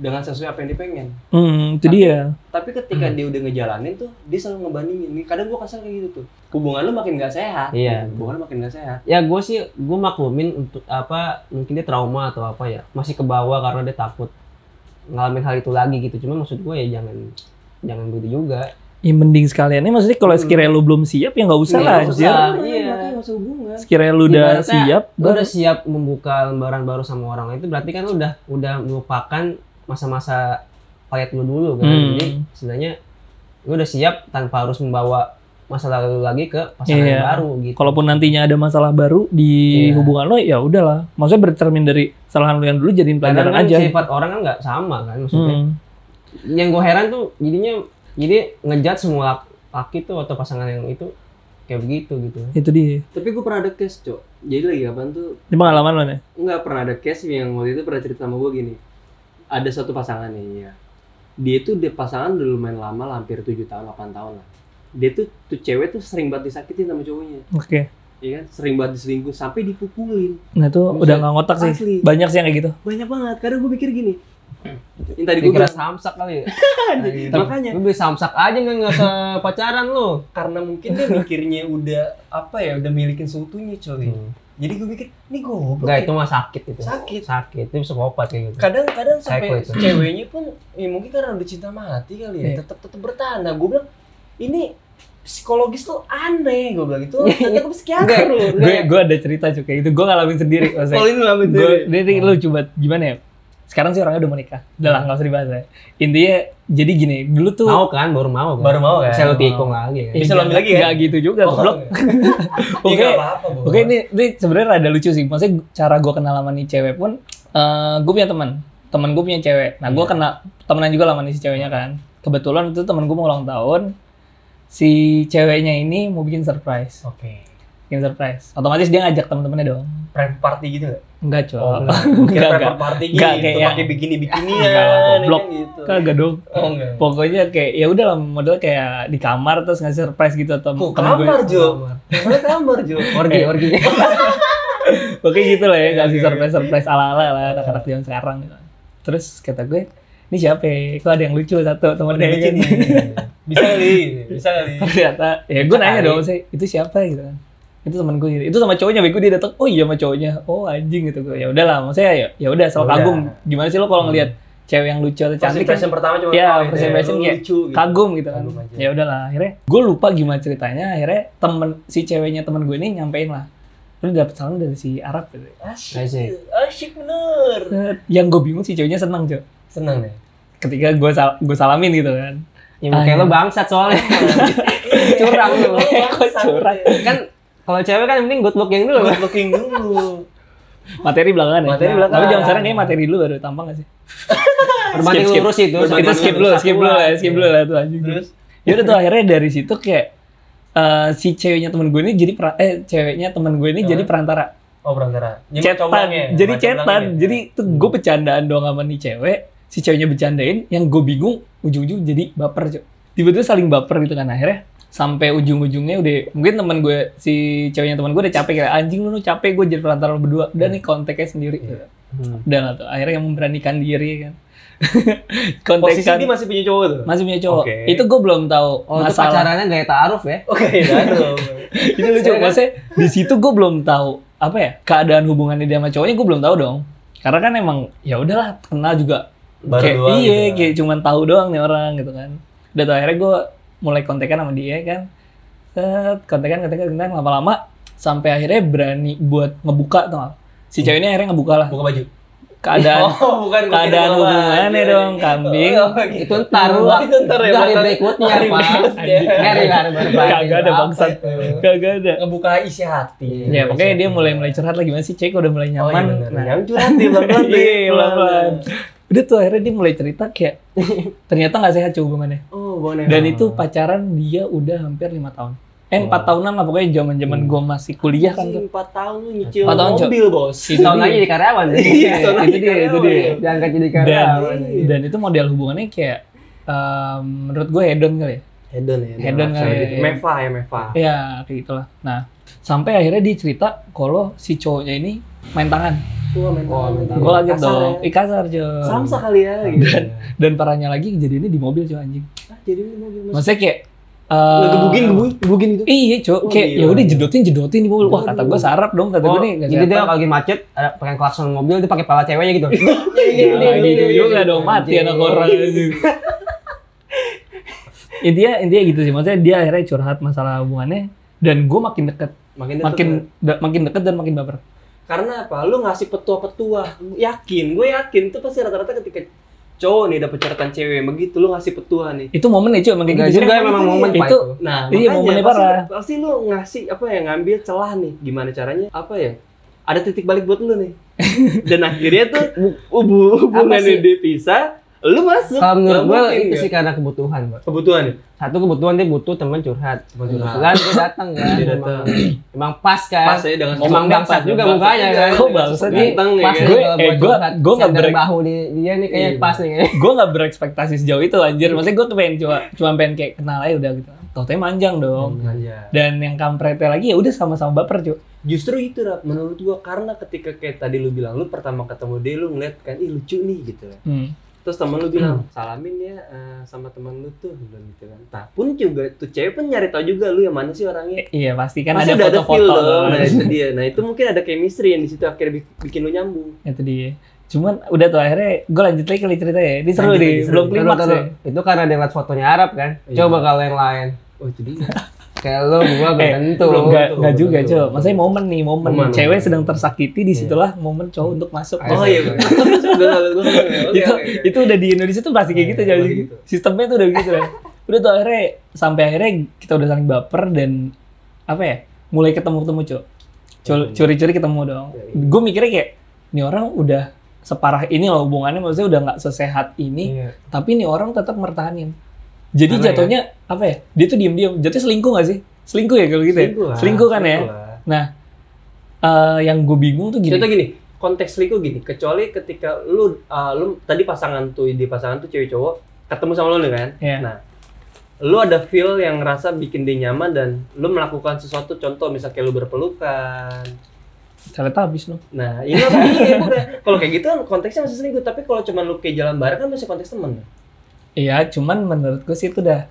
Speaker 3: dengan sesuai apa yang dipengen.
Speaker 1: Hmm, itu dia.
Speaker 3: Tapi ketika
Speaker 2: Hmm.
Speaker 3: dia udah ngejalanin tuh dia selalu ngebandingin. Nih, Kadang gue kesel kayak gitu tuh. Hubungan lu makin gak sehat.
Speaker 2: Iya.
Speaker 3: gitu. Hubungan lu makin gak sehat.
Speaker 2: Ya gua sih gua maklumin untuk apa mungkin dia trauma atau apa ya. Masih kebawa karena dia takut ngalamin hal itu lagi gitu. Cuma maksud gua ya jangan jangan gitu juga.
Speaker 1: Ya mending sekalian. Ini maksudnya kalau sekiranya lo belum siap ya nggak usah
Speaker 2: Hmm. Nggak
Speaker 1: lah
Speaker 2: usah.
Speaker 1: anjir.
Speaker 2: Iya.
Speaker 3: Makanya nggak usah hubungan.
Speaker 1: Sekiranya lu udah
Speaker 2: Ibaratnya,
Speaker 1: siap,
Speaker 2: Lu
Speaker 1: baru
Speaker 2: udah siap membuka lembaran baru sama orang itu berarti kan lu udah udah melupakan masa-masa pahit lu dulu kan.
Speaker 1: Hmm.
Speaker 2: Jadi sebenarnya lu udah siap tanpa harus membawa masa lalu lagi ke pasangan
Speaker 1: Iya.
Speaker 2: baru gitu.
Speaker 1: kalaupun nantinya ada masalah baru di
Speaker 2: Iya.
Speaker 1: hubungan lo ya udahlah. Maksudnya bercermin dari kesalahan lo yang dulu jadiin
Speaker 2: Kadang
Speaker 1: pelajaran
Speaker 2: kan
Speaker 1: aja.
Speaker 2: sifat orang kan nggak sama kan maksudnya.
Speaker 1: Hmm.
Speaker 2: Yang gue heran tuh jadinya jadi ngejat semua lak- laki tuh atau pasangan yang itu kayak begitu gitu.
Speaker 1: Itu dia.
Speaker 3: Tapi gue pernah ada case, Cok. Jadi lagi kapan tuh
Speaker 1: Ini pengalaman lo nih.
Speaker 3: nggak pernah ada case yang waktu itu pernah cerita sama gue gini ada satu pasangan nih ya dia tuh dia pasangan udah lumayan lama lah, hampir 7 tahun 8 tahun lah dia tuh tuh cewek tuh sering banget disakitin sama cowoknya
Speaker 1: Oke.
Speaker 3: ya kan sering banget diselingkuh sampai dipukulin
Speaker 1: Nah itu
Speaker 3: Bisa.
Speaker 1: udah nggak ngotak sih.
Speaker 3: Asli.
Speaker 1: Banyak sih yang kayak gitu.
Speaker 3: banyak banget kadang gue pikir gini yang tadi gue
Speaker 2: Dikira
Speaker 3: bilang
Speaker 2: samsak kali ya.
Speaker 3: anjing. makanya
Speaker 2: Lu beli samsak aja nggak nggak usah pacaran lu.
Speaker 3: karena mungkin dia mikirnya udah apa ya udah milikin seutuhnya coy jadi gue pikir ini goblok
Speaker 2: Enggak
Speaker 3: ya."
Speaker 2: itu mah sakit Hmm. itu.
Speaker 3: Sakit.
Speaker 2: Sakit. Itu psikopat kayak gitu.
Speaker 3: kadang-kadang sampai
Speaker 2: Psycho itu.
Speaker 3: ceweknya pun ya mungkin karena udah cinta mati kali ya
Speaker 1: Iya.
Speaker 3: tetap tetap bertahan nah gue bilang ini psikologis tuh aneh gue bilang itu
Speaker 1: Iya.
Speaker 3: tetap ke psikiater lu ya? Oh,
Speaker 1: Gue gue ada cerita cuy kayak gitu. Gue ngalamin sendiri.
Speaker 3: kalau ini lah betul
Speaker 1: gue jadi lu coba gimana ya? Sekarang sih orangnya udah menikah. Udah lah nggak usah dibahas ya. Intinya jadi gini dulu tuh.
Speaker 2: Mau kan baru mau kan.
Speaker 3: Baru mau kan?
Speaker 2: Saya lu tikung lagi kan.
Speaker 1: Ya,
Speaker 3: Bisa lo ambil lagi, iya. kan?
Speaker 1: nggak gitu juga, goblok. Oke.
Speaker 3: apa-apa Bo.
Speaker 1: Oke ini, ini sebenarnya rada lucu sih. Maksudnya cara gue kenal sama nih cewek pun, eh gue punya teman, teman gue punya cewek. Nah gue kenal temenan juga lah sama nih si ceweknya kan. Kebetulan itu teman gue mau ulang tahun, si ceweknya ini mau bikin surprise,
Speaker 3: oke
Speaker 1: bikin surprise. Otomatis dia ngajak temen-temennya dong.
Speaker 3: private party gitu nggak
Speaker 1: Enggak
Speaker 3: oh
Speaker 1: coy,
Speaker 3: enggak
Speaker 1: Enggak,
Speaker 3: private party gitu
Speaker 1: Enggak, kayak yang-
Speaker 3: pakai bikini bikinian
Speaker 1: Enggak lah, goblok. Kan
Speaker 3: gitu
Speaker 1: kagak dong.
Speaker 3: oh enggak
Speaker 1: Pokoknya kayak ya udah lah model kayak di kamar terus ngasih surprise gitu atau
Speaker 3: Kok
Speaker 1: temen gue.
Speaker 3: kamar Jo? Lu kamar Jo.
Speaker 2: Orgi, orgi.
Speaker 1: Oke gitu lah Eh. ya, ngasih
Speaker 3: Oke, oke.
Speaker 1: surprise surprise ala ala lah anak-anak zaman sekarang gitu. Terus kata gue, ini siapa? ya? Kok ada yang lucu satu teman
Speaker 3: Udah
Speaker 1: gue
Speaker 3: lucu
Speaker 1: kan?
Speaker 3: nih. Bisa kali, bisa kali.
Speaker 1: Ternyata, ya gue
Speaker 2: Bisa
Speaker 1: nanya
Speaker 2: kali.
Speaker 1: dong, saya itu siapa gitu kan? Itu teman gue, gitu. itu sama cowoknya, bego dia datang. Oh iya sama cowoknya, oh anjing gitu gue. Ya udahlah, maksudnya ya, ya udah, soal
Speaker 2: Udah.
Speaker 1: kagum. Gimana sih lo kalau ngelihat cewek yang lucu atau
Speaker 3: First
Speaker 1: cantik kan
Speaker 3: impression pertama cuma
Speaker 1: Iya,
Speaker 3: oh, ini
Speaker 1: first
Speaker 3: ya,
Speaker 1: impression
Speaker 3: lu
Speaker 1: kayak
Speaker 3: lucu gitu.
Speaker 1: kagum gitu kan
Speaker 3: Kagum aja.
Speaker 1: ya udahlah akhirnya gue lupa gimana ceritanya akhirnya temen si ceweknya temen gue ini nyampein lah lu dapet salam dari si Arab gitu
Speaker 3: Asyik.
Speaker 2: Asyik.
Speaker 3: Asyik bener.
Speaker 1: yang gue bingung si ceweknya seneng cok
Speaker 3: Seneng deh.
Speaker 1: ketika gue sal gue salamin gitu kan
Speaker 2: Ya mukanya
Speaker 1: Ah,
Speaker 2: lu bangsat soalnya. Curang lu.
Speaker 1: Kok curang?
Speaker 2: Kan kalau cewek kan yang penting good looking dulu.
Speaker 3: Good looking dulu.
Speaker 1: materi belakangan ya
Speaker 3: Materi belakangan.
Speaker 1: tapi jangan sekarang kayak materi dulu baru tampang gak sih
Speaker 2: Berbanding
Speaker 1: skip.
Speaker 2: lurus itu.
Speaker 3: Berbanding
Speaker 1: kita
Speaker 2: Itu
Speaker 1: skip
Speaker 3: lurus.
Speaker 1: dulu skip dulu lah skip dulu lah tuh anjing
Speaker 3: Terus
Speaker 1: ya udah tuh akhirnya dari situ kayak eh, si ceweknya temen gue ini jadi pra- eh ceweknya temen gue ini jadi perantara
Speaker 3: oh perantara. Jadi
Speaker 1: cetan
Speaker 3: comblangnya,
Speaker 1: jadi
Speaker 3: macam
Speaker 1: cetan
Speaker 3: comblangnya.
Speaker 1: jadi itu gue bercandaan doang sama nih cewek si ceweknya bercandain yang gue bingung ujung-ujung jadi baper Cok. tiba-tiba saling baper gitu kan akhirnya sampai ujung-ujungnya udah mungkin teman gue si ceweknya teman gue udah capek kayak anjing lu, lu capek gue jadi perantara lu berdua udah nih kontaknya sendiri gitu.
Speaker 2: Hmm.
Speaker 1: udah lah tuh akhirnya yang memberanikan diri kan
Speaker 3: posisi
Speaker 1: kontekan
Speaker 3: dia masih punya cowok tuh.
Speaker 1: masih punya cowok
Speaker 3: Oke.
Speaker 1: itu gue belum tahu
Speaker 2: Oh, itu
Speaker 1: masalah
Speaker 2: pacarannya gaya ta'aruf ya.
Speaker 3: Oke, dah tuh.
Speaker 1: Ini
Speaker 3: Iya
Speaker 1: lucu
Speaker 3: kan?
Speaker 1: maksudnya di situ gue belum tahu apa ya keadaan hubungannya dia sama cowoknya gue belum tahu dong. Karena kan emang ya udahlah kenal juga.
Speaker 3: Baru
Speaker 1: kayak,
Speaker 3: doang
Speaker 1: iya,
Speaker 3: gitu.
Speaker 1: kayak cuman tahu doang nih orang gitu kan. Udah tuh akhirnya gue mulai kontekan sama dia kan. Set, kontekan kontekan kontekan lama-lama sampai akhirnya berani buat ngebuka tuh. nggak? Si cewek ini akhirnya ngebuka lah
Speaker 3: Buka baju.
Speaker 1: keadaan
Speaker 3: oh, bukan Oh, gua
Speaker 1: keadaan
Speaker 3: kira
Speaker 1: hubungannya
Speaker 3: baju.
Speaker 1: dong, kambing.
Speaker 3: Oh, gitu.
Speaker 2: Itu ntar
Speaker 3: Oh,
Speaker 2: Pak.
Speaker 3: itu ntar ya,
Speaker 2: Itu hari
Speaker 3: Pak.
Speaker 2: berikutnya,
Speaker 3: Hari
Speaker 2: Pak.
Speaker 3: berikutnya.
Speaker 2: Nggak ada, nggak ada, nggak ada.
Speaker 1: Kagak ada,
Speaker 2: Apa
Speaker 3: ya.
Speaker 1: bangsat.
Speaker 2: itu?
Speaker 1: kagak ada.
Speaker 3: Iya, Ngebuka isi hati.
Speaker 1: Ya pokoknya dia mulai mulai curhat lagi gimana sih cewek udah mulai
Speaker 3: Iya, Oh, iya
Speaker 1: nyaman.
Speaker 3: bener.
Speaker 1: Nah,
Speaker 3: Yang curhat dia pelan-pelan. deh,
Speaker 1: Iya, pelan-pelan. Udah tuh akhirnya dia mulai cerita kayak ternyata nggak sehat coba hubungannya.
Speaker 3: Oh, boleh.
Speaker 1: Dan itu pacaran dia udah hampir lima tahun. Eh empat tahunan lah pokoknya zaman zaman gue masih kuliah kan tuh.
Speaker 3: Anjing, empat tahun lu nyicil
Speaker 1: Empat tahun, Cok.
Speaker 3: mobil, Bos.
Speaker 1: Itu
Speaker 2: Tahun lagi di karyawan.
Speaker 3: Iya, tahun lagi
Speaker 2: Itu dia, itu dia.
Speaker 3: karyawan.
Speaker 2: Diangkat jadi
Speaker 1: Dan
Speaker 2: karyawan.
Speaker 1: dan itu model hubungannya kayak em, menurut gue hedon kali ya.
Speaker 3: Hedon ya.
Speaker 1: Hedon
Speaker 3: Meva
Speaker 1: kali ya,
Speaker 3: gitu.
Speaker 1: iya.
Speaker 3: Meva ya, Meva.
Speaker 1: Ya kayak gitulah. Nah sampai akhirnya dia cerita kalau si cowoknya ini main tangan.
Speaker 3: Gua main
Speaker 2: Oh, main tangan.
Speaker 1: Gue kaget
Speaker 3: Kasar
Speaker 1: dong.
Speaker 3: ya.
Speaker 1: Ih Hmm. kasar Jon.
Speaker 3: Samsa kali ya gitu.
Speaker 1: Dan parahnya lagi kejadiannya di mobil cuy anjing.
Speaker 3: Ah, jadi lu mobil masuk.
Speaker 1: Maksudnya kayak
Speaker 3: Lu
Speaker 1: eh,
Speaker 3: gebugin, gebugin, gebugin gitu.
Speaker 1: Iya, cok.
Speaker 3: Oh,
Speaker 1: kayak
Speaker 3: gila.
Speaker 1: ya udah jedotin jedotin di mobil. Wah, kata
Speaker 3: Aduh.
Speaker 1: gue sarap dong, kata
Speaker 2: Oh,
Speaker 1: gue nih. nggak
Speaker 2: jadi dia
Speaker 1: sehat.
Speaker 2: kalau lagi macet, ada pakai klakson mobil, dia pakai pala ceweknya gitu.
Speaker 3: Iya,
Speaker 1: Nah, gitu juga dong mati anak orang gitu. itu. intinya intinya gitu sih. Maksudnya dia akhirnya curhat masalah hubungannya dan gue makin deket,
Speaker 3: Makin deket
Speaker 1: makin
Speaker 3: lu.
Speaker 1: da- makin deket dan makin baper.
Speaker 3: karena apa? Lu ngasih petua-petua. Lu Yakin, gue yakin itu pasti rata-rata ketika cowok nih dapet catatan cewek begitu lu ngasih petua nih.
Speaker 1: Itu momen ya, cok. Makin
Speaker 2: Enggak
Speaker 1: gitu
Speaker 2: juga
Speaker 1: Cok.
Speaker 2: memang momen Pak,
Speaker 1: itu.
Speaker 3: Nah,
Speaker 1: Iya,
Speaker 3: makanya
Speaker 1: momennya
Speaker 3: pasti,
Speaker 1: parah.
Speaker 3: pasti lu ngasih apa ya ngambil celah nih. Gimana caranya? Apa ya? Ada titik balik buat lu nih. Dan akhirnya tuh hubungan
Speaker 1: Apa sih?
Speaker 3: dia pisah, Lu masuk.
Speaker 2: Kalau menurut
Speaker 3: Nggak
Speaker 2: gue
Speaker 3: mungkin,
Speaker 2: itu
Speaker 3: ya.
Speaker 2: sih karena kebutuhan, Pak.
Speaker 3: kebutuhan ya?
Speaker 2: Satu kebutuhan dia butuh teman curhat.
Speaker 3: Teman curhat.
Speaker 2: Kebetulan dia datang kan.
Speaker 3: Dia
Speaker 2: emang-
Speaker 3: datang.
Speaker 2: Emang pas
Speaker 3: Pas
Speaker 2: kan.
Speaker 3: ya dengan
Speaker 2: Emang bangsat juga mukanya kan.
Speaker 1: Kok bangsat sih?
Speaker 3: Ganteng ya
Speaker 2: Pas
Speaker 3: kan?
Speaker 1: Gue-
Speaker 2: gue,
Speaker 1: eh,
Speaker 2: eh,
Speaker 1: gue- gue nggak break.
Speaker 2: bahu di, dia nih kayaknya
Speaker 3: Iya.
Speaker 2: pas nih kan. kayaknya.
Speaker 1: gue nggak berekspektasi sejauh itu anjir maksudnya gue tuh pengen cuma cuma pengen kayak kenal aja udah gitu tau manjang dong
Speaker 3: Aja.
Speaker 1: dan yang kampretnya lagi ya udah sama-sama baper cuy
Speaker 3: Justru itu Rap, menurut gua karena ketika kayak tadi lu bilang lu pertama ketemu dia lu ngeliat kan ih lucu nih gitu kan.
Speaker 1: hmm.
Speaker 3: Terus temen lu bilang salamin ya eh, sama temen lu tuh lu bilang gitu kan. Nah, pun juga tuh cewek pun nyari tau juga lu yang mana sih orangnya.
Speaker 1: I- iya pasti kan
Speaker 3: Pasti
Speaker 1: ada
Speaker 3: udah feel
Speaker 1: foto-foto
Speaker 3: dong. Nah,
Speaker 1: kan.
Speaker 3: itu dia. Nah, itu mungkin ada chemistry yang di situ akhirnya bi- bikin lu nyambung.
Speaker 1: itu dia cuman udah tuh akhirnya gue lanjut lagi kali cerita ya ini seru
Speaker 3: Lanjut
Speaker 1: nih
Speaker 3: lagi, seru.
Speaker 1: belum
Speaker 2: Taruh,
Speaker 1: klimaks
Speaker 2: taruh.
Speaker 1: ya
Speaker 2: Itu karena dia ngeliat fotonya Arab kan.
Speaker 3: Iya.
Speaker 2: Coba kalau yang lain.
Speaker 3: Oh, itu dia.
Speaker 2: Kayak lu, gua belum
Speaker 1: Eh,
Speaker 2: tentu.
Speaker 3: belum
Speaker 1: Nggak,
Speaker 3: Betul,
Speaker 1: nggak juga,
Speaker 3: betul.
Speaker 1: Cok. Maksudnya momen nih, momen.
Speaker 3: Momen. Iya.
Speaker 1: Cewek sedang tersakiti, disitulah momen cowok untuk masuk.
Speaker 2: Ayo,
Speaker 3: Oh
Speaker 1: Oh,
Speaker 3: iya.
Speaker 2: iya.
Speaker 1: itu, itu udah di Indonesia tuh pasti kayak
Speaker 3: Iya,
Speaker 1: gitu,
Speaker 3: iya,
Speaker 1: jadi
Speaker 3: pasti gitu.
Speaker 1: Sistemnya tuh udah gitu. ya. Udah tuh akhirnya, sampai akhirnya kita udah saling baper dan, apa ya, mulai ketemu-ketemu, Cok. Cul-
Speaker 3: Iya.
Speaker 1: Curi-curi ketemu dong.
Speaker 3: Iya, iya.
Speaker 1: Gue mikirnya kayak, ini orang udah separah ini loh hubungannya, maksudnya udah nggak sesehat ini,
Speaker 2: Iya.
Speaker 1: tapi ini orang tetap mertahanin. Jadi
Speaker 2: Karena ya.
Speaker 1: jatuhnya, apa ya, dia tuh diem-diem. Jatuhnya selingkuh nggak sih? Selingkuh ya kalau gitu ya?
Speaker 3: lah,
Speaker 1: Selingkuh kan ya?
Speaker 3: selingkuh lah.
Speaker 1: Eh, yang gue bingung tuh gini.
Speaker 3: Contoh gini, konteks selingkuh gini, kecuali ketika lu uh, lu tadi pasangan tuh di pasangan tuh cewek cowok ketemu sama lu nih kan.
Speaker 1: Iya.
Speaker 3: Nah, lu ada feel yang ngerasa bikin dia nyaman dan lu melakukan sesuatu contoh misalnya kayak lu berpelukan.
Speaker 1: habis lu.
Speaker 3: Nah, ini apa iya, bukan. Kalau kayak gitu kan konteksnya masih selingkuh, tapi kalau cuma lu kayak jalan bareng kan masih konteks temen.
Speaker 1: Iya, cuman menurut gue sih itu udah.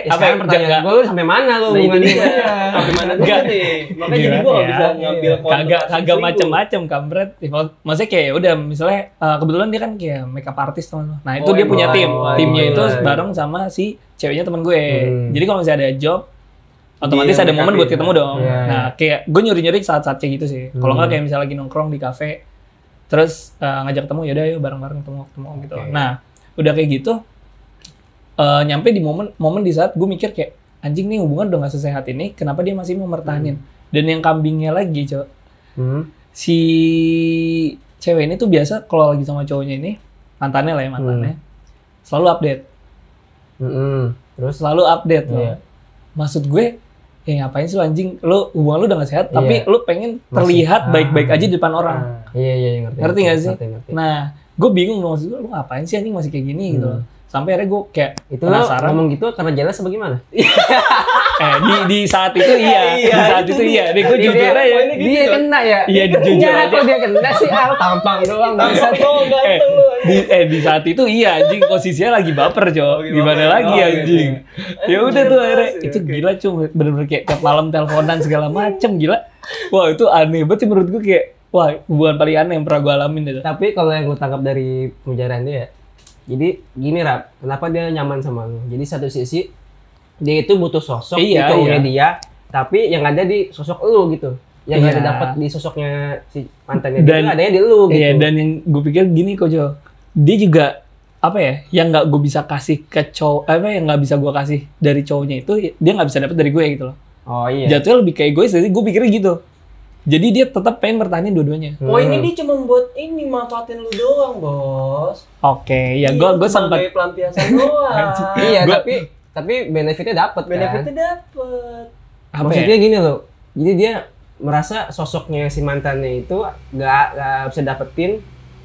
Speaker 2: Ya,
Speaker 1: apa Iya,
Speaker 2: sekarang
Speaker 1: yang
Speaker 2: pertanyaan gue lu sampai mana lu
Speaker 3: Nah, itu
Speaker 2: hubungannya?
Speaker 3: dia. Tapi mana dulu
Speaker 1: Enggak.
Speaker 3: nih? Makanya jadi gua nggak bisa
Speaker 1: Iya.
Speaker 3: ngambil konotasi
Speaker 1: kagak kagak
Speaker 3: selingkuh.
Speaker 1: macem-macem kampret. Maksudnya kayak ya udah misalnya eh, kebetulan dia kan kayak makeup artist teman lu. Nah, itu
Speaker 3: Oh,
Speaker 1: dia punya
Speaker 3: emang.
Speaker 1: tim.
Speaker 3: Oh,
Speaker 1: Timnya
Speaker 3: iya.
Speaker 1: itu bareng sama si ceweknya teman gue.
Speaker 2: Hmm.
Speaker 1: Jadi kalau misalnya ada job otomatis
Speaker 3: Dia
Speaker 1: ada momen
Speaker 3: make
Speaker 1: buat
Speaker 3: upin.
Speaker 1: ketemu dong.
Speaker 2: Iya, iya.
Speaker 1: Nah, kayak gue nyuri-nyuri saat-saat kayak gitu sih. Kalau nggak kayak misalnya lagi nongkrong di kafe terus eh, ngajak ketemu yaudah ayo bareng-bareng ketemu ketemu gitu.
Speaker 2: Oke.
Speaker 1: Nah, udah kayak gitu eh, nyampe di momen momen di saat gue mikir kayak anjing nih hubungan udah gak sesehat ini, kenapa dia masih mau mertahanin? Dan yang kambingnya lagi, cowok
Speaker 2: Hmm.
Speaker 1: si cewek ini tuh biasa kalau lagi sama cowoknya ini mantannya lah ya mantannya selalu update
Speaker 2: Mm-mm. hmm, Terus
Speaker 1: selalu update loh.
Speaker 2: Iya.
Speaker 1: maksud gue ya ngapain sih lu anjing lu hubungan lu udah gak sehat tapi
Speaker 2: Iya.
Speaker 1: lu pengen
Speaker 2: Masih-
Speaker 1: terlihat
Speaker 2: ah.
Speaker 1: baik-baik aja di depan orang
Speaker 3: Nah,
Speaker 2: Iya iya iya, ngerti.
Speaker 1: Ngerti nggak sih?
Speaker 2: Ngerti, ngerti.
Speaker 1: nah gue bingung dong, maksud gue lu ngapain sih anjing masih kayak gini gitu
Speaker 2: Hmm.
Speaker 1: loh sampai akhirnya gue kayak
Speaker 2: Itu lo
Speaker 1: Penasaran.
Speaker 2: ngomong gitu karena jelas apa gimana?
Speaker 1: eh di di saat itu iya
Speaker 3: Iya,
Speaker 1: di saat
Speaker 3: itu
Speaker 1: itu
Speaker 3: dia.
Speaker 1: iya deh gue
Speaker 3: Iya,
Speaker 1: jujur
Speaker 3: iya.
Speaker 1: aja
Speaker 3: Oh, ini gitu,
Speaker 2: Dia
Speaker 3: Cok.
Speaker 2: kena ya?
Speaker 1: Iya, jujur
Speaker 2: Iya,
Speaker 1: aja.
Speaker 2: Kok dia kena sih? Al tampang doang.
Speaker 3: Tampang
Speaker 2: bangsat.
Speaker 3: doang, ganteng lu.
Speaker 1: di, eh di saat itu iya anjing posisinya lagi baper
Speaker 3: Oh,
Speaker 1: cowok
Speaker 3: gimana?
Speaker 1: gimana lagi
Speaker 3: Oh,
Speaker 1: anjing ya udah tuh akhirnya
Speaker 3: Sih,
Speaker 1: itu
Speaker 3: oke.
Speaker 1: gila cuma bener-bener kayak tiap malam teleponan segala macem gila wah itu aneh banget sih menurut gue kayak wah hubungan paling aneh yang pernah gue alamin itu
Speaker 2: Tapi kalau yang gue tangkap dari pembicaraan dia, jadi gini Rap, kenapa dia nyaman sama lu? Jadi satu sisi dia itu butuh sosok di
Speaker 1: Iya,
Speaker 2: cowoknya
Speaker 1: iya.
Speaker 2: dia, tapi yang ada di sosok lu gitu. Yang nggak
Speaker 1: Iya.
Speaker 2: ada dapat di sosoknya si mantannya dia,
Speaker 1: Dan-
Speaker 2: itu adanya di lu gitu.
Speaker 1: iya dan yang gue pikir gini kok Jo dia juga apa ya yang nggak gue bisa kasih ke cowok apa yang nggak bisa gue kasih dari cowoknya itu dia nggak bisa dapat dari gue gitu loh
Speaker 2: oh iya.
Speaker 1: jatuhnya lebih kayak egois jadi gue pikirnya gitu jadi dia tetap pengen bertahanin dua-duanya
Speaker 2: Hmm.
Speaker 3: Oh ini dia cuma buat ini manfaatin lu doang bos.
Speaker 1: oke ya gue gue sempat
Speaker 3: Sebagai pelampiasan doang.
Speaker 2: Iya,
Speaker 1: Gua-
Speaker 2: tapi tapi benefitnya dapat kan.
Speaker 3: Benefitnya dapet.
Speaker 1: apa ya?
Speaker 2: Maksudnya gini loh, jadi dia merasa sosoknya si mantannya itu nggak nggak bisa dapetin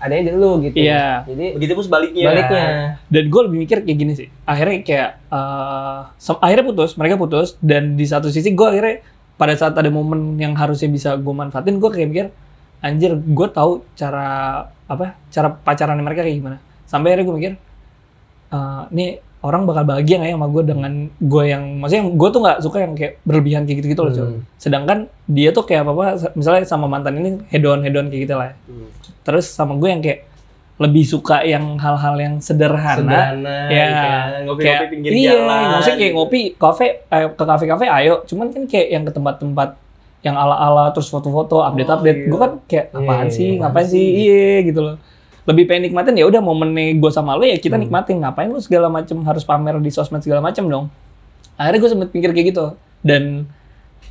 Speaker 2: adanya di lu gitu.
Speaker 1: Iya.
Speaker 2: Jadi
Speaker 3: Begitu pun sebaliknya.
Speaker 2: baliknya.
Speaker 1: dan gue lebih mikir kayak gini sih akhirnya kayak eh, sem- akhirnya putus mereka putus dan di satu sisi gue akhirnya pada saat ada momen yang harusnya bisa gue manfaatin gue kayak mikir anjir gue tahu cara apa cara pacaran mereka kayak gimana sampai akhirnya gue mikir eh, ini orang bakal bahagia nggak ya sama gue dengan gue yang maksudnya gue tuh nggak suka yang kayak berlebihan kayak gitu gitu loh Cok.
Speaker 2: Hmm.
Speaker 1: sedangkan dia tuh kayak apa apa misalnya sama mantan ini head on head on kayak gitu lah ya.
Speaker 3: Hmm.
Speaker 1: terus sama gue yang kayak lebih suka yang hal-hal yang sederhana
Speaker 3: Sederhana.
Speaker 1: Iya.
Speaker 3: kan. Ngopi-ngopi
Speaker 1: kayak
Speaker 3: pinggir
Speaker 1: iya,
Speaker 3: jalan.
Speaker 1: maksudnya kayak
Speaker 3: gitu.
Speaker 1: ngopi kafe eh, ke kafe-kafe ayo, cuman kan kayak yang ke tempat-tempat yang ala-ala terus foto-foto, update-update.
Speaker 3: iya.
Speaker 1: Gue kan kayak apaan
Speaker 2: Iya,
Speaker 1: sih,
Speaker 2: apaan
Speaker 1: ngapain sih?
Speaker 2: sih?
Speaker 1: Iya gitu loh. Lebih pengen nikmatin ya udah momennya gue sama lo ya kita
Speaker 2: Hmm.
Speaker 1: nikmatin. Ngapain lu segala macem harus pamer di sosmed segala macem dong. Akhirnya gue sempet pikir kayak gitu dan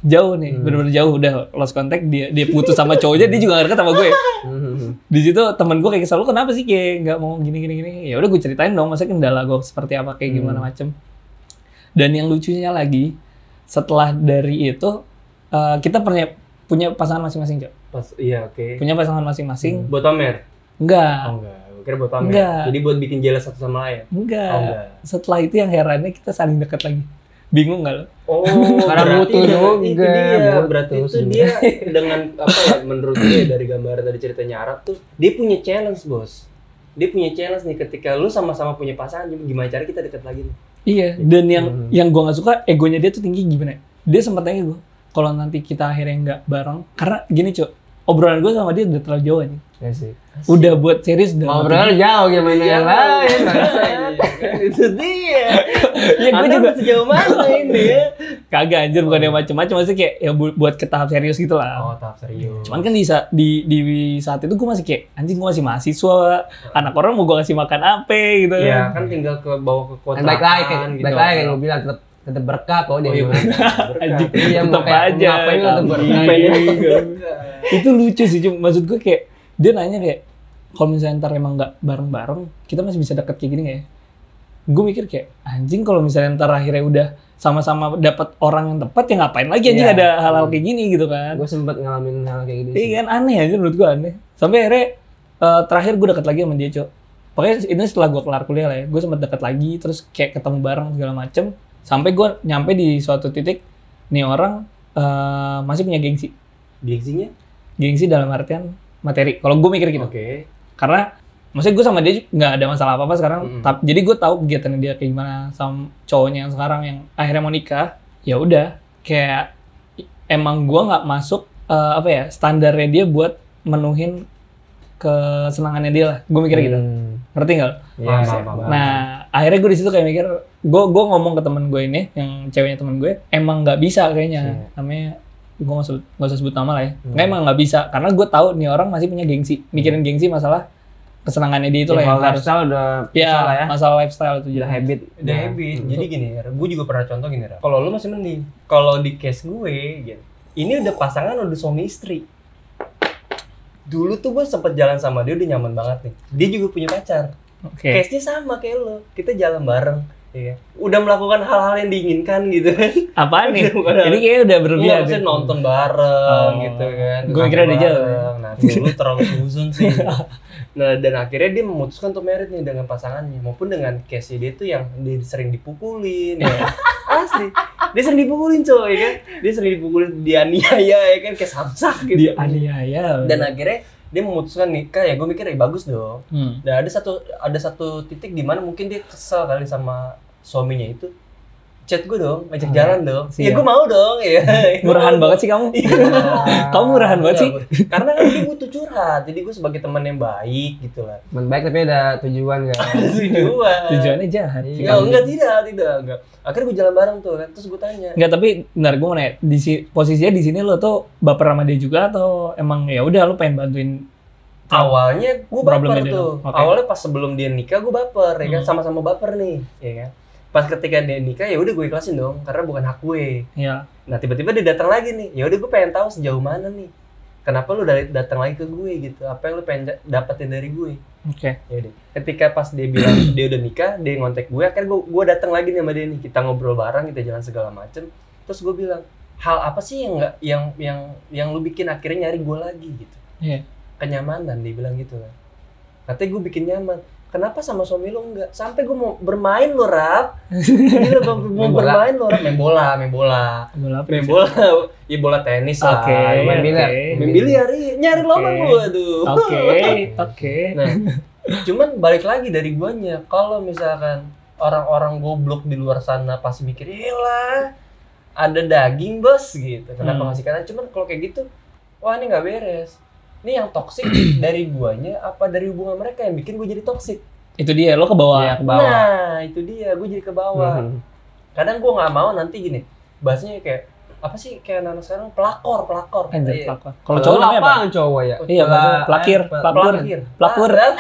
Speaker 1: jauh nih
Speaker 2: Hmm.
Speaker 1: bener-bener jauh udah lost contact dia dia putus sama cowoknya dia juga gak deket sama ya. gue
Speaker 3: Hmm.
Speaker 2: Mhm.
Speaker 1: di situ temen gue kayak selalu kenapa sih kayak nggak mau gini gini gini ya udah gue ceritain dong maksudnya kendala gue seperti apa kayak gimana
Speaker 2: Hmm.
Speaker 1: macem dan yang lucunya lagi setelah dari itu eh, kita punya punya pasangan masing-masing Cok.
Speaker 3: Pas iya oke.
Speaker 1: punya pasangan masing-masing
Speaker 3: Buat pamer?
Speaker 1: enggak
Speaker 3: Oh enggak, gue kira buat pamer.
Speaker 1: Ah. Enggak.
Speaker 3: Jadi buat bikin jelas satu sama lain.
Speaker 1: enggak
Speaker 3: Oh enggak.
Speaker 1: setelah itu yang herannya kita saling deket lagi bingung nggak lo
Speaker 3: Oh,
Speaker 2: Karena
Speaker 3: berarti
Speaker 2: butuh
Speaker 3: dia-
Speaker 2: juga,
Speaker 3: itu dia.
Speaker 2: butuh
Speaker 3: Berarti itu
Speaker 2: juga.
Speaker 3: dia dengan apa ya menurut gue dari gambaran tadi ceritanya Arab tuh, dia punya challenge, Bos. Dia punya challenge nih ketika lu sama-sama punya pasangan, gimana cara kita deket lagi nih?
Speaker 1: iya dan yang
Speaker 2: Hmm.
Speaker 1: yang gue nggak suka egonya dia tuh tinggi gimana ya? dia sempat tanya gue kalau nanti kita akhirnya nggak bareng karena gini cuy obrolan gue sama dia udah terlalu jauh aja
Speaker 2: Ya sih.
Speaker 1: udah buat serius udah
Speaker 2: Ngobrol jauh gimana
Speaker 1: Iya,
Speaker 2: yang lain.
Speaker 3: Iya, itu dia.
Speaker 1: ya gue
Speaker 3: Anda
Speaker 1: juga
Speaker 3: sejauh mana ini ya?
Speaker 1: kagak anjir bukan
Speaker 2: Oh.
Speaker 1: yang macem-macem maksudnya kayak ya bu- buat ke tahap serius gitu lah
Speaker 3: Oh, tahap serius.
Speaker 1: cuman kan di, sa- di, di saat itu gue masih kayak anjing gue masih mahasiswa anak orang mau gue kasih makan apa gitu
Speaker 2: Iya.
Speaker 3: ya kan tinggal ke bawah ke kota. gitu.
Speaker 2: Dan Kan baik lagi,
Speaker 1: kan
Speaker 2: baik lagi kan? yang gue bilang tetap tetap berkah kok dia.
Speaker 3: Oh iya, kan?
Speaker 2: bilang.
Speaker 1: anjing
Speaker 2: Iya, mau
Speaker 1: tetep
Speaker 2: kayak-
Speaker 1: aja
Speaker 2: ngapain lu tetep
Speaker 1: kambing. itu lucu sih cuma maksud gue kayak dia nanya kayak kalau misalnya ntar emang nggak bareng-bareng kita masih bisa deket kayak gini nggak ya gue mikir kayak anjing kalau misalnya ntar akhirnya udah sama-sama dapat orang yang tepat ya ngapain lagi anjing
Speaker 2: Iya.
Speaker 1: ada hal-hal kayak gini gitu kan
Speaker 2: Gue sempet ngalamin hal kayak gini. sih.
Speaker 1: Iya kan aneh aja menurut gua aneh. Sampai akhirnya eh, terakhir gua deket lagi sama dia cok. Pokoknya ini setelah gua kelar kuliah lah ya, gue sempet deket lagi, terus kayak ketemu bareng segala macem. Sampai gua nyampe di suatu titik, nih orang eh, masih punya gengsi.
Speaker 3: Gengsinya?
Speaker 1: Gengsi dalam artian materi. Kalau gue mikir gitu,
Speaker 3: Oke.
Speaker 1: karena maksudnya gue sama dia ju- nggak ada masalah apa apa sekarang.
Speaker 3: Mm-mm.
Speaker 1: Tapi jadi gue tahu kegiatannya dia kayak gimana sama cowoknya yang sekarang yang akhirnya mau nikah. Ya udah, kayak i- emang gua nggak masuk eh, apa ya standarnya dia buat menuhin kesenangannya dia lah. Gue mikir gitu,
Speaker 2: Hmm.
Speaker 1: ngerti nggak? lo?
Speaker 2: Iya,
Speaker 3: Paham,
Speaker 2: sih.
Speaker 3: paham, paham.
Speaker 1: Nah, akhirnya gue di situ kayak mikir, gue gue ngomong ke temen gue ini, yang ceweknya temen gue, emang nggak bisa kayaknya. Namanya gue nggak usah, nggak usah sebut nama lah ya. Nggak emang nggak bisa, karena gue tahu nih orang masih punya gengsi, mikirin gengsi masalah kesenangannya dia itu
Speaker 2: Ya,
Speaker 1: lah yang
Speaker 2: kalau
Speaker 1: harus.
Speaker 2: lifestyle udah
Speaker 1: Ya,
Speaker 2: ya. ya.
Speaker 1: masalah lifestyle itu
Speaker 2: Udah
Speaker 1: jelas.
Speaker 2: habit.
Speaker 3: Udah
Speaker 2: Ya.
Speaker 3: habit. Jadi gini, gue juga pernah contoh gini, Ra. Kalau lu masih mending. Kalau di case gue, gitu. Ini udah pasangan, udah suami istri. Dulu tuh gue sempet jalan sama dia, udah nyaman banget nih. Dia juga punya pacar.
Speaker 1: Oke.
Speaker 3: Case-nya sama kayak lo. Kita jalan bareng. Iya. Udah melakukan hal-hal yang diinginkan gitu kan.
Speaker 1: Apaan nih?
Speaker 3: Bukan, bukan.
Speaker 1: Ini kayaknya udah
Speaker 3: Iya,
Speaker 1: berlebihan.
Speaker 3: maksudnya
Speaker 1: deh.
Speaker 3: nonton bareng
Speaker 1: Oh.
Speaker 3: gitu kan.
Speaker 1: Gua kira dia
Speaker 3: Bareng.
Speaker 1: jauh.
Speaker 3: Nah, dulu terlalu suzon sih. Nah, dan akhirnya dia memutuskan untuk merit nih dengan pasangannya maupun dengan case dia tuh yang dia sering dipukulin ya. Asli. Dia sering dipukulin, coy, ya kan. Dia sering dipukulin, dianiaya ya kan kayak samsak gitu.
Speaker 1: Di aniaya.
Speaker 3: Dan akhirnya dia memutuskan nikah ya gue mikir ya bagus dong.
Speaker 1: Hmm.
Speaker 3: Nah, ada satu ada satu titik di mana mungkin dia kesel kali sama suaminya itu. Chat gue dong, ngajak
Speaker 1: Ah,
Speaker 3: jalan dong. Ya
Speaker 1: siap.
Speaker 3: gue mau dong, ya.
Speaker 1: Murahan banget sih kamu.
Speaker 3: Iya.
Speaker 1: kamu murahan banget sih.
Speaker 3: Karena kan dia butuh curhat. Jadi gue sebagai teman yang baik gitu lah.
Speaker 2: Teman baik tapi ada tujuan kan.
Speaker 3: Tujuan.
Speaker 1: Tujuannya jahat. sih
Speaker 3: Ya,
Speaker 1: kamu.
Speaker 3: enggak tidak, tidak, enggak. Akhirnya gue jalan bareng tuh kan. Terus gue tanya.
Speaker 1: Enggak, tapi benar gue mau nanya, di si- posisinya di sini lo tuh baper sama dia juga atau emang ya udah lo pengen bantuin
Speaker 3: Awalnya gue baper
Speaker 1: Problemnya dia
Speaker 3: tuh.
Speaker 1: dong. Oke.
Speaker 3: Awalnya pas sebelum dia nikah gue baper, ya kan
Speaker 1: Hmm.
Speaker 3: sama-sama baper nih, ya kan. Pas ketika dia nikah ya udah gue ikhlasin dong, karena bukan hak gue.
Speaker 1: ya
Speaker 3: Nah tiba-tiba dia datang lagi nih. Ya udah gue pengen tahu sejauh mana nih. Kenapa lu dari- datang lagi ke gue gitu? Apa yang lu pengen da- dapetin dari gue?
Speaker 1: oke
Speaker 3: Ya udah. Ketika pas dia bilang dia udah nikah, dia ngontek gue. Akhirnya gue gue datang lagi nih sama dia nih. Kita ngobrol bareng, kita jalan segala macem. Terus gue bilang hal apa sih yang nggak yang yang yang lu bikin akhirnya nyari gue lagi gitu?
Speaker 1: Iya.
Speaker 3: Kenyamanan dia bilang gitu kan. Katanya gue bikin nyaman. Kenapa sama suami lu enggak? Sampai gue mau bermain lo, Rap. Gila, gua mau
Speaker 2: Main bola.
Speaker 3: bermain lo, Rap. Main bola, main bola.
Speaker 1: gue lapar
Speaker 3: Main bola, ya bola tenis lah.
Speaker 1: oke
Speaker 3: Main
Speaker 2: Main biliar.
Speaker 1: oke.
Speaker 3: main biliar, iya. nyari
Speaker 1: Oke.
Speaker 3: lobang lu aduh.
Speaker 1: oke oke
Speaker 3: Nah, cuman balik lagi dari guanya, kalau misalkan orang-orang goblok di luar sana pasti mikir, "Yalah, ada daging, Bos." gitu. Kenapa
Speaker 1: Hmm.
Speaker 3: ngasih kanan? Cuman kalau kayak gitu, wah ini nggak beres. Ini yang toksik dari guanya apa dari hubungan mereka yang bikin gue jadi toksik?
Speaker 1: itu dia lo ke bawah Hmm.
Speaker 2: Ya, ke bawah.
Speaker 3: Nah, itu dia, gue jadi ke bawah
Speaker 2: Mhm.
Speaker 3: kadang gue nggak mau nanti gini bahasanya kayak apa sih kayak anak sekarang pelakor pelakor
Speaker 1: anjir
Speaker 3: Iya.
Speaker 1: pelakor kalau cowok
Speaker 2: lu
Speaker 1: namanya apa
Speaker 2: apaan cowok ya?
Speaker 1: iya
Speaker 2: Pela-
Speaker 1: maksudnya pelakir
Speaker 2: eh, pel-
Speaker 1: pelakor Pelakor.
Speaker 3: Ah,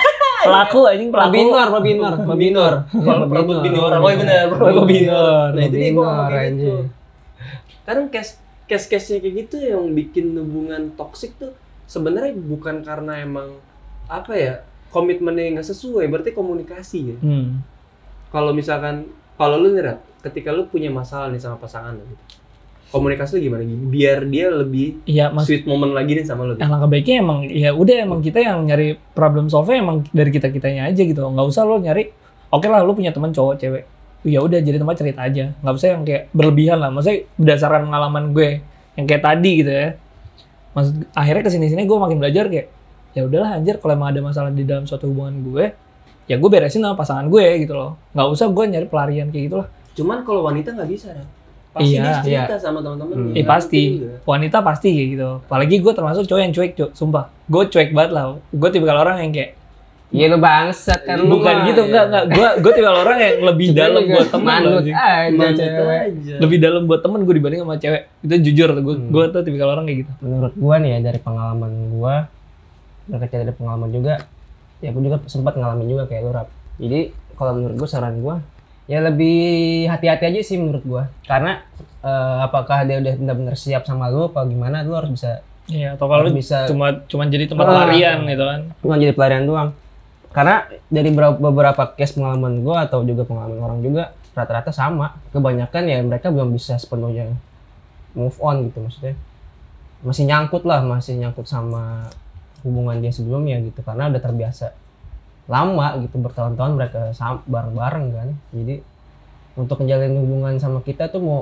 Speaker 1: pelaku anjing pelaku
Speaker 2: Pelabinor, pelabinor, pelabinor.
Speaker 3: kalau perebut bini orang oh iya benar
Speaker 1: Pelabinor.
Speaker 3: nah itu dia gue ngomong kayak gitu
Speaker 2: anjing.
Speaker 3: kadang case case case-case kayak gitu yang bikin hubungan toksik tuh sebenarnya bukan karena emang apa ya komitmennya nggak sesuai berarti komunikasi ya
Speaker 1: Hmm.
Speaker 3: kalau misalkan kalau lu nih Rat, ketika lu punya masalah nih sama pasangan lu gitu komunikasi lu gimana gini biar dia lebih
Speaker 1: Iya, mas.
Speaker 3: sweet moment lagi nih sama lu gitu.
Speaker 1: Alangkah Nah, baiknya emang ya udah emang kita yang nyari problem solve emang dari kita kitanya aja gitu. Nggak usah lo nyari. Oke lah, lo punya teman cowok cewek. Ya udah jadi teman cerita aja. Nggak usah yang kayak berlebihan lah. Maksudnya berdasarkan pengalaman gue yang kayak tadi gitu ya. Maksud akhirnya kesini sini gue makin belajar kayak ya udahlah anjir kalau emang ada masalah di dalam suatu hubungan gue ya gue beresin sama pasangan gue gitu loh nggak usah gue nyari pelarian kayak gitu gitulah
Speaker 3: cuman kalau wanita nggak bisa Rat. pasti
Speaker 1: Iya.
Speaker 3: dia cerita sama teman-teman Nah, gitu
Speaker 2: Hmm.
Speaker 1: Eh, pasti. wanita pasti kayak gitu apalagi gue termasuk cowok yang cuek cok sumpah gue cuek banget lah gue tipe orang yang kayak
Speaker 2: Iya lu bangsat kan lu
Speaker 1: bukan
Speaker 2: mah.
Speaker 1: gitu enggak enggak gue gue tipe orang yang lebih
Speaker 2: Kita
Speaker 1: dalam
Speaker 2: juga
Speaker 1: buat temen loh
Speaker 2: manut
Speaker 1: anjing.
Speaker 2: aja cewek.
Speaker 3: aja
Speaker 1: lebih dalam buat temen gue dibanding sama cewek itu jujur gue
Speaker 2: Hmm.
Speaker 1: gue tuh tipe orang kayak gitu
Speaker 2: menurut gua nih ya dari pengalaman gua berkaca dari pengalaman juga ya aku juga sempat ngalamin juga kayak lu rap jadi kalau menurut gua saran gua ya lebih hati-hati aja sih menurut gua karena eh, apakah dia udah benar-benar siap sama lu apa gimana lu harus bisa
Speaker 1: Iya, atau kalau
Speaker 2: harus
Speaker 1: lu
Speaker 2: bisa
Speaker 1: cuma cuma jadi tempat
Speaker 2: Ah.
Speaker 1: larian gitu kan
Speaker 2: cuma jadi pelarian doang karena dari bera- beberapa case pengalaman gua atau juga pengalaman orang juga rata-rata sama kebanyakan ya mereka belum bisa sepenuhnya move on gitu maksudnya masih nyangkut lah masih nyangkut sama hubungan dia sebelumnya gitu karena udah terbiasa lama gitu bertahun-tahun mereka sam- bareng-bareng kan jadi untuk menjalin hubungan sama kita tuh mau